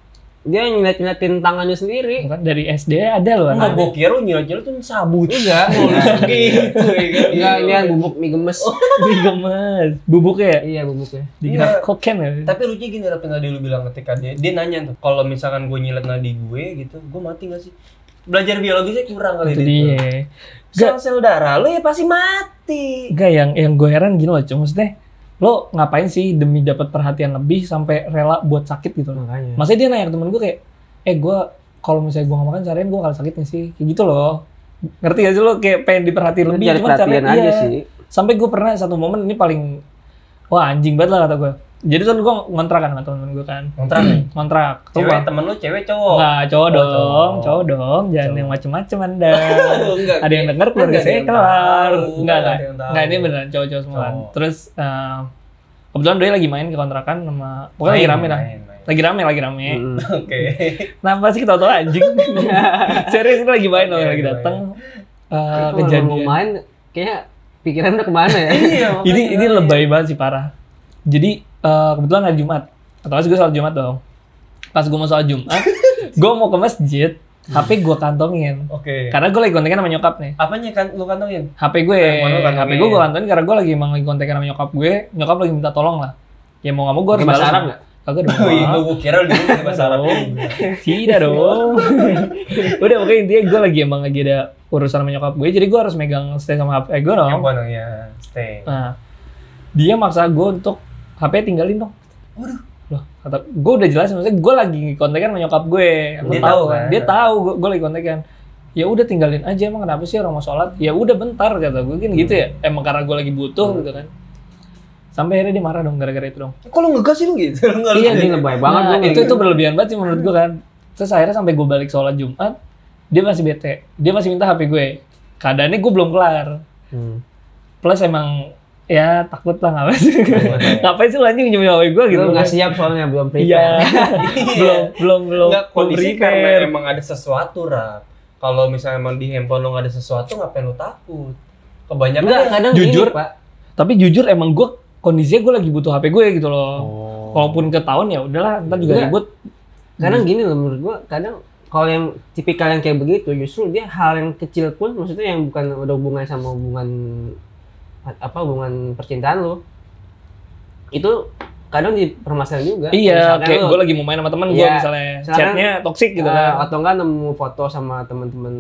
Speaker 2: dia ngeliat-ngeliatin tangannya sendiri.
Speaker 1: Bukan, kan, dari SD ada loh
Speaker 4: enggak
Speaker 1: anak.
Speaker 4: gua kira lu nyilat-nyilat tuh sabut
Speaker 1: Iya.
Speaker 2: Enggak,
Speaker 4: Mulus gitu ya kan
Speaker 2: enggak, dia bubuk mie gemes.
Speaker 1: Ih, gemes. Iya, Bubuknya ya?
Speaker 2: Iya, bubuknya.
Speaker 1: Dikira koken ya?
Speaker 4: tapi lucunya gini Rap, yang tadi lu bilang ketika dia dia nanya tuh kalau misalkan gue nyilet nadi gue gitu gue mati gak sih belajar biologisnya kurang kali dia
Speaker 1: Itu
Speaker 4: tuh.
Speaker 1: dia.
Speaker 4: sel sel darah lu ya pasti mati
Speaker 1: Enggak, yang, yang gue heran gini loh, cuma maksudnya lo ngapain sih demi dapat perhatian lebih sampai rela buat sakit gitu loh.
Speaker 2: Makanya.
Speaker 1: Maksudnya dia nanya ke temen gue kayak, eh gue kalau misalnya gue gak makan seharian gue bakal sakit nih sih. Kayak gitu loh. Ngerti gak sih lo kayak pengen diperhatiin lebih.
Speaker 2: Cari
Speaker 1: cuman
Speaker 2: perhatian
Speaker 1: caranya-
Speaker 2: aja
Speaker 1: iya.
Speaker 2: sih.
Speaker 1: Sampai gue pernah satu momen ini paling, wah anjing banget lah kata gue. Jadi kan gue ngontrak kan sama temen gue kan.
Speaker 4: kontrak nih.
Speaker 1: Ngontrak.
Speaker 4: cewek
Speaker 1: Rumah.
Speaker 4: temen lu cewek cowok
Speaker 1: Enggak, cowok
Speaker 4: Oh,
Speaker 1: dong,
Speaker 4: cowok.
Speaker 1: cowok dong. Jangan
Speaker 4: Cowok.
Speaker 1: yang macem-macem anda.
Speaker 4: Aduh, Oh, enggak
Speaker 1: ada yang denger keluarga saya kelar. Enggak, enggak. Enggak, ini beneran cowok-cowok semua. kan.
Speaker 4: Cowok.
Speaker 1: Terus, eh, kebetulan doi lagi main ke kontrakan sama, pokoknya lagi rame lah. Lagi rame, lagi rame.
Speaker 2: Mm-mm.
Speaker 4: Oke.
Speaker 1: Kenapa sih ketawa-tawa anjing? Serius, ini lagi main loh,
Speaker 4: Iya,
Speaker 1: lagi
Speaker 4: iya,
Speaker 1: dateng. eh,
Speaker 2: Kalau mau
Speaker 1: kejadian.
Speaker 2: main, kayaknya pikiran udah kemana ya?
Speaker 4: Iya.
Speaker 1: Ini,
Speaker 4: makanya.
Speaker 1: ini lebay banget sih, parah. Jadi, eh, kebetulan hari Jumat. Atau gue sholat Jumat dong. Pas gue mau sholat Jumat, gue mau ke masjid, HP gue kantongin.
Speaker 4: Oke.
Speaker 1: Karena gue lagi kontekan sama nyokap nih.
Speaker 4: Apanya kan lu kantongin?
Speaker 1: HP gue,
Speaker 4: Handphone Eh, lu kantongin.
Speaker 1: HP gue gue kantongin karena gue lagi emang lagi kontekan sama nyokap gue. Nyokap lagi minta tolong lah. Ya mau nggak mau gue harus
Speaker 2: Pakai bahasa
Speaker 1: balas.
Speaker 2: Arab nggak?
Speaker 1: Kagak dong.
Speaker 4: Oh iya, gua kira lu dulu bahasa Arab.
Speaker 1: Tidak dong. Udah pokoknya intinya gue lagi emang lagi ada urusan sama nyokap gue. Jadi gue harus megang stay sama HP gue dong.
Speaker 4: Apa dong ya? Stay.
Speaker 1: Nah, dia maksa gue untuk HP tinggalin dong.
Speaker 4: Waduh.
Speaker 1: Loh, kata gue udah jelas maksudnya gue lagi kontekan sama nyokap gue. Lu
Speaker 4: Dia
Speaker 1: tahu
Speaker 4: tahu
Speaker 1: kan?
Speaker 4: kan?
Speaker 1: Dia tahu gue, gue lagi kontekan. Ya udah tinggalin aja emang kenapa sih orang mau sholat? Ya udah bentar kata gue kan gitu ya. Emang karena gue lagi butuh gitu kan. Sampai akhirnya dia marah dong gara-gara itu dong.
Speaker 4: Kok lu ngegas sih lu gitu? Lu Enggak
Speaker 2: Iya, ini lebay banget
Speaker 1: Nah,
Speaker 2: gua kayak
Speaker 1: itu
Speaker 2: gitu.
Speaker 1: itu berlebihan banget sih menurut gue kan. Terus akhirnya sampai gue balik sholat Jumat, dia masih bete. Dia masih minta HP gue. Keadaannya gue belum kelar.
Speaker 2: Hmm.
Speaker 1: Plus emang ya takut lah ngapain sih. ngapain sih lu anjing nyium HP gue gitu.
Speaker 2: Lu nggak siap soalnya belum
Speaker 1: Iya.
Speaker 2: prepare.
Speaker 1: belum belum belum
Speaker 4: Enggak
Speaker 1: belum
Speaker 4: kondisi
Speaker 1: prepare.
Speaker 4: karena emang ada sesuatu, Rap. Kalau misalnya emang di handphone lu nggak ada sesuatu, ngapain lu takut? Kebanyakan ya-
Speaker 2: Enggak,
Speaker 1: kan.
Speaker 2: kadang
Speaker 1: Jujur.
Speaker 2: gini, Pak.
Speaker 1: Tapi jujur emang gue kondisinya gue lagi butuh HP gue gitu
Speaker 3: Oh.
Speaker 1: loh. Walaupun ketahuan ya udahlah ntar juga
Speaker 2: Oh. Enggak.
Speaker 1: ribut.
Speaker 2: Kadang gini loh menurut gua, kadang kalau yang tipikal yang kayak begitu justru dia hal yang kecil pun maksudnya yang bukan ada hubungan sama hubungan apa hubungan percintaan lu. Itu kadang dipermasalahin juga.
Speaker 1: Iya,
Speaker 2: Misalkan
Speaker 1: kayak
Speaker 2: lu-
Speaker 1: gue lagi mau main sama temen gue
Speaker 2: Iya.
Speaker 1: misalnya
Speaker 2: Misalkan-
Speaker 1: chatnya toksik gitu
Speaker 2: Eh,
Speaker 1: kan.
Speaker 2: atau enggak nemu foto sama temen-temen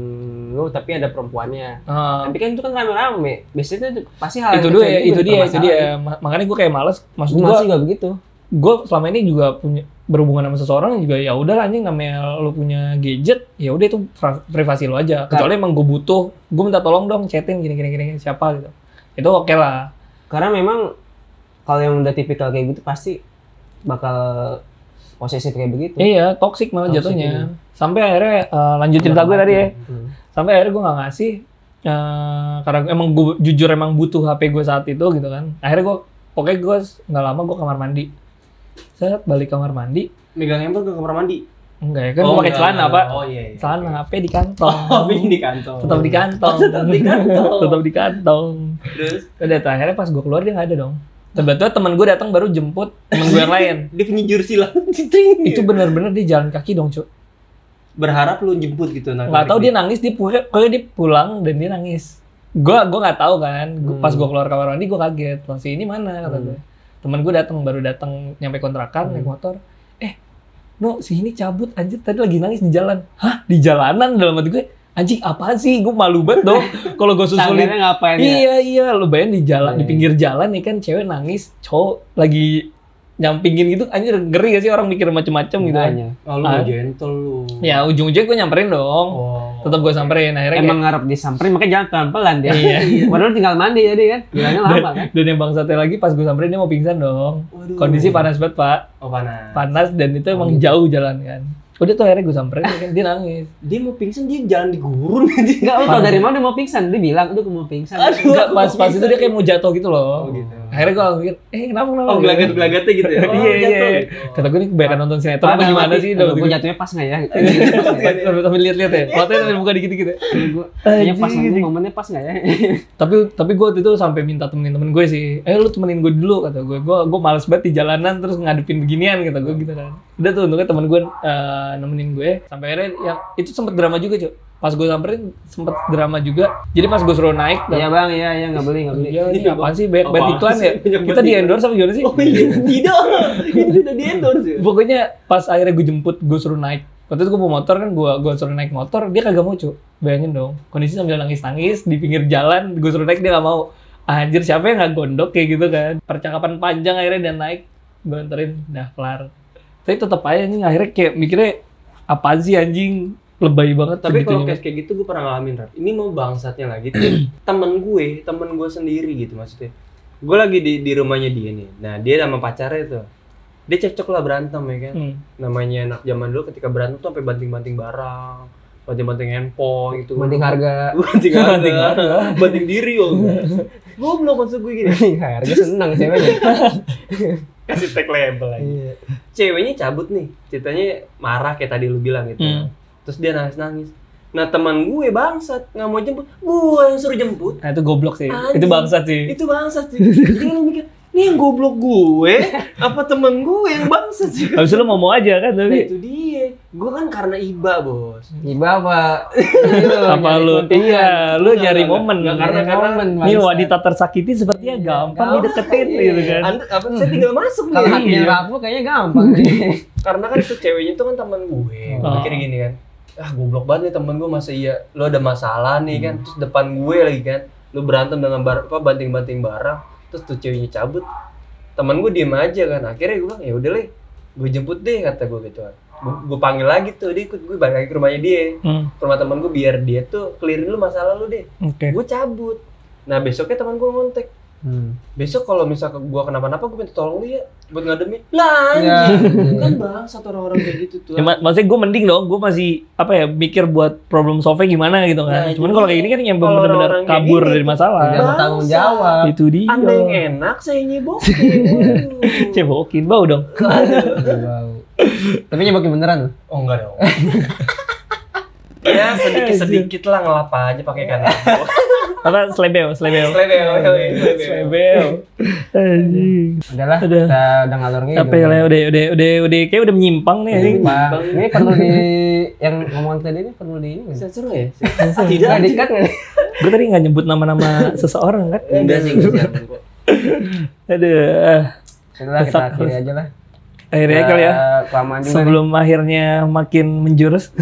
Speaker 2: lu tapi ada perempuannya
Speaker 1: Ah.
Speaker 2: tapi kan itu kan rame-rame biasanya itu pasti hal
Speaker 1: itu
Speaker 2: yang gitu, kecil
Speaker 1: dia itu dia itu
Speaker 2: bermasalah.
Speaker 1: dia Ma- makanya gue kayak males maksud
Speaker 2: Gua
Speaker 1: gue
Speaker 2: masih nggak begitu
Speaker 1: gue selama ini juga punya berhubungan sama seseorang juga ya udah anjing namanya lu punya gadget ya udah itu pra- privasi lu aja kecuali emang gue butuh gue minta tolong dong chatin gini gini gini siapa gitu itu oke lah
Speaker 2: karena memang kalau yang udah tipikal kayak gitu pasti bakal posesif kayak begitu
Speaker 1: iya toksik malah
Speaker 2: Toxic
Speaker 1: jatuhnya
Speaker 2: iya.
Speaker 1: sampai akhirnya eh, lanjut cerita gue tadi ya
Speaker 2: Hmm.
Speaker 1: sampai akhirnya gue nggak ngasih eh, karena emang gue jujur emang butuh HP gue saat itu gitu kan akhirnya gue oke gue s- nggak lama gue kamar mandi saya balik kamar mandi
Speaker 3: Megang handphone ke kamar mandi.
Speaker 1: enggak ya kan
Speaker 2: Oh,
Speaker 1: gue pakai celana
Speaker 4: enggak.
Speaker 1: pak
Speaker 4: Oh iya. iya.
Speaker 1: celana HP di kantong
Speaker 3: Oh, di kantor.
Speaker 1: tetap di kantong
Speaker 3: Tetap di kantong.
Speaker 1: tetap di kantong
Speaker 3: Terus
Speaker 1: udah tuh, akhirnya pas gue keluar dia nggak ada dong tiba-tiba temen gue datang baru jemput temen gue yang lain
Speaker 3: dia punya jersey lah. Cing.
Speaker 1: itu benar-benar dia jalan kaki dong cuy
Speaker 3: berharap lu jemput gitu nanti.
Speaker 1: nggak tahu dia nangis dia pulang pokoknya dia pulang dan dia nangis gue gue nggak tahu kan Gua-
Speaker 3: Hmm.
Speaker 1: pas gue keluar kamar mandi gue kaget Lah, si ini mana kata gue temen gue datang baru datang nyampe kontrakan
Speaker 3: Hmm.
Speaker 1: naik motor eh no si ini cabut anjir tadi lagi nangis di jalan hah di jalanan dalam hati gue anjing apaan sih gue malu banget dong kalau gue susulin
Speaker 2: Tangganya ngapain ya
Speaker 1: Iya iya, lu bayangin di jalan di
Speaker 2: Iya.
Speaker 1: pinggir jalan nih kan cewek nangis, cowok lagi nyampingin gitu anjir ngeri gak sih orang mikir macem-macem gitu. kan.
Speaker 2: Makanya.
Speaker 3: Oh, lu mau
Speaker 1: Ah.
Speaker 3: gentle lu.
Speaker 1: Ya ujung-ujungnya gue nyamperin dong.
Speaker 3: Oh.
Speaker 1: Tetap gue samperin akhirnya
Speaker 2: emang ngarep disamperin makanya jalan pelan-pelan dia
Speaker 1: kayak, iya.
Speaker 2: padahal tinggal mandi jadi kan jalannya lama kan
Speaker 1: Dan yang bangsatnya lagi pas gue samperin dia mau pingsan dong.
Speaker 3: Waduh.
Speaker 1: Kondisi panas banget, Pak.
Speaker 3: Oh, panas.
Speaker 1: Panas dan itu emang jauh jalan kan. Udah tuh akhirnya gue samperin dia kan dia nangis.
Speaker 3: Dia mau pingsan dia jalan di gurun aja.
Speaker 2: Enggak, lu tau
Speaker 1: Panas.
Speaker 2: dari mana dia mau pingsan? Dia bilang, aduh gue mau pingsan.
Speaker 1: Enggak, pas pas itu dia kayak mau jatuh gitu loh.
Speaker 3: gitu.
Speaker 1: akhirnya gue mikir eh kenapa kenapa
Speaker 5: Oh, gelagat-gelagatnya gitu ya.
Speaker 1: Iya, iya,
Speaker 5: jatuh.
Speaker 1: iya. kata gue nih kebanyakan nonton sinetron apa gimana sih gitu.
Speaker 2: Aduh,
Speaker 1: Dapat
Speaker 2: gue
Speaker 1: gua-
Speaker 2: jatuhnya pas nggak ya?
Speaker 1: sambil sambil lihat-lihat ya fotonya sambil buka dikit-dikit ya
Speaker 2: Gue kayaknya pas
Speaker 1: Anjing.
Speaker 2: nggak, momennya pas nggak ya?
Speaker 1: tapi tapi gue waktu itu sampai minta temenin temen gue sih eh lu temenin gue dulu kata gue gue gue males banget di jalanan terus ngadepin beginian kata gue gitu kan udah tuh untungnya temen gue eh, nemenin gue sampai akhirnya yang itu sempet drama juga cuy pas gue samperin sempet drama juga jadi pas gue suruh naik
Speaker 2: Iya bang, iya iya nggak beli nggak beli.
Speaker 1: Iya, ini apaan sih banyak banget
Speaker 5: Apaan
Speaker 1: iklan
Speaker 5: sih?
Speaker 1: ya?
Speaker 5: Banyak
Speaker 1: Kita
Speaker 5: banget
Speaker 1: di
Speaker 5: iklan.
Speaker 1: endorse apa gimana sih?
Speaker 5: Oh iya, tidak. Ini tidak di endorse ya.
Speaker 1: Pokoknya pas akhirnya gue jemput, gue suruh naik. Waktu itu gue bawa motor kan, gue gue suruh naik motor, dia kagak mau cu. Bayangin dong, kondisi sambil nangis-nangis di pinggir jalan, gue suruh naik dia gak mau. Ah, Anjir siapa yang gak gondok kayak gitu kan? Percakapan panjang akhirnya dia naik, gue anterin, dah kelar. Tapi tetap aja nih akhirnya kayak mikirnya apaan sih anjing? Lebay banget.
Speaker 3: Tapi
Speaker 1: segitunya.
Speaker 3: kalau kayak kayak gitu gue pernah ngalamin, Rar. Ini mau bangsatnya lagi tuh temen gue, temen gue sendiri gitu maksudnya. Gue lagi di, di rumahnya dia nih. Nah dia sama pacarnya tuh. Dia cekcok lah berantem ya kan.
Speaker 1: Hmm.
Speaker 3: Namanya anak zaman dulu ketika berantem tuh sampai banting-banting barang, banting-banting handphone gitu.
Speaker 2: Mending harga.
Speaker 3: banting
Speaker 1: Banting
Speaker 3: harga, banting diri om. gue belum maksud gue gini.
Speaker 2: Mending Iya, harga seneng ceweknya.
Speaker 3: Kasih tag label aja.
Speaker 2: Iya.
Speaker 3: ceweknya cabut nih ceritanya marah kayak tadi lu bilang gitu
Speaker 1: Hmm.
Speaker 3: terus dia nangis nangis nah teman gue bangsat nggak mau jemput gue yang suruh jemput
Speaker 1: Nah itu goblok sih,
Speaker 3: Anjing.
Speaker 1: itu bangsat sih.
Speaker 3: itu bangsat sih jadi lu mikir ini yang goblok gue apa temen gue yang bangsat sih
Speaker 1: Habis itu lo mau mau aja kan
Speaker 3: nah
Speaker 1: tapi
Speaker 3: itu dia gue kan karena iba bos
Speaker 2: Iba apa?
Speaker 1: apa lu? Iya, lu nyari momen.
Speaker 3: nggak,
Speaker 2: Karena karena
Speaker 1: Nih wanita tersakiti sepertinya gampang dideketin
Speaker 3: Iya.
Speaker 1: gitu kan.
Speaker 3: Anda, apa, saya tinggal masuk
Speaker 2: kalau
Speaker 3: nih
Speaker 2: hatinya rapuh kayaknya gampang.
Speaker 3: karena kan itu ceweknya tuh kan teman gue gue
Speaker 1: Oh.
Speaker 3: mikir gini kan ah goblok banget nih temen gue masa iya lo ada masalah nih kan terus depan gue lagi kan lo berantem dengan bar apa banting-banting barang terus tuh ceweknya cabut temen gue diem aja kan akhirnya gue bilang ya udah leh gue jemput deh kata gue gitu kan gue, gue panggil lagi tuh dia ikut gue balik lagi ke rumahnya dia
Speaker 1: Hmm,
Speaker 3: ke rumah temen gue biar dia tuh clearin lu masalah lu deh
Speaker 1: Oke.
Speaker 3: gue cabut nah besoknya teman gue ngontek besok kalau misalnya gue kenapa-napa gue minta tolong lu ya buat ngademin lah
Speaker 2: Ya.
Speaker 3: anjing kan bang satu orang-orang kayak gitu tuh
Speaker 1: Ya, ma- maksudnya gue mending dong, gue masih apa ya mikir buat problem solve gimana gitu
Speaker 3: Nah,
Speaker 1: kan.
Speaker 3: itu
Speaker 1: Cuman kalau kayak gini kan yang
Speaker 3: kalau
Speaker 1: benar-benar
Speaker 3: orang-orang kayak
Speaker 1: kabur
Speaker 3: gini, iya.
Speaker 1: dari
Speaker 2: Tidak
Speaker 1: masalah.
Speaker 3: Bangsa.
Speaker 2: bertanggung jawab.
Speaker 1: Itu dia.
Speaker 3: anda yang enak saya nyebokin Waduh.
Speaker 1: Cebokin bau dong.
Speaker 2: Wow. Tapi nyebakin beneran. loh.
Speaker 3: oh enggak dong ya sedikit sedikit lah ngelap aja pakai kanan
Speaker 1: Apa slebeo, slebeo.
Speaker 3: Slebeo, slebeo, slebeo.
Speaker 1: Slebeo. Anjing.
Speaker 2: Udahlah,
Speaker 1: Udah.
Speaker 2: kita udah ngalor ngidul.
Speaker 1: Apa ya, udah udah udah udah kayak udah menyimpang nih anjing.
Speaker 2: Bang, Ini perlu di yang ngomongan tadi ini perlu di ini.
Speaker 3: sensor nggak ya tidak
Speaker 2: Nggak dikat nggak?
Speaker 1: Gue tadi nggak nyebut nama-nama seseorang kan.
Speaker 3: enggak sih enggak sih, aman kok.
Speaker 1: Aduh, ah,
Speaker 2: Sudahlah kita
Speaker 1: Sat-
Speaker 2: akhiri aja lah.
Speaker 1: akhirnya kali ya.
Speaker 3: Nah,
Speaker 2: Eh, Kelamaan juga. nih.
Speaker 1: Sebelum akhirnya makin menjurus.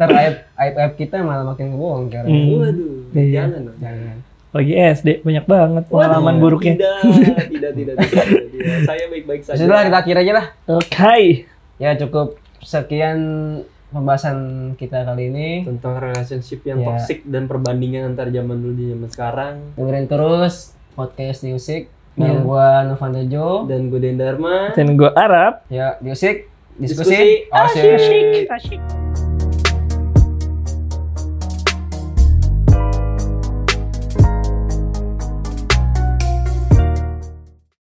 Speaker 2: Ntar aib aib aib kita malah makin bohong sekarang.
Speaker 1: Hmm.
Speaker 3: waduh
Speaker 1: Iya.
Speaker 3: jangan dong
Speaker 2: Jangan.
Speaker 1: Lagi SD banyak banget pengalaman
Speaker 3: Waduh,
Speaker 1: buruknya.
Speaker 3: tidak tidak tidak tidak, tidak. saya baik-baik saja
Speaker 2: Sudahlah kita akhiri aja lah.
Speaker 1: Oke.
Speaker 2: Ya cukup sekian pembahasan kita kali ini.
Speaker 3: tentang relationship yang
Speaker 2: Ya.
Speaker 3: toxic dan perbandingan antar zaman dulu dan zaman sekarang
Speaker 2: Dengerin terus podcast Music
Speaker 1: Iya.
Speaker 2: yang gua Novan Tejo.
Speaker 3: dan gue Dendarma
Speaker 1: Dan gue Arab.
Speaker 2: Ya, Music
Speaker 3: Diskusi.
Speaker 1: Ah,
Speaker 2: diskusi. Asyik.
Speaker 1: asyik.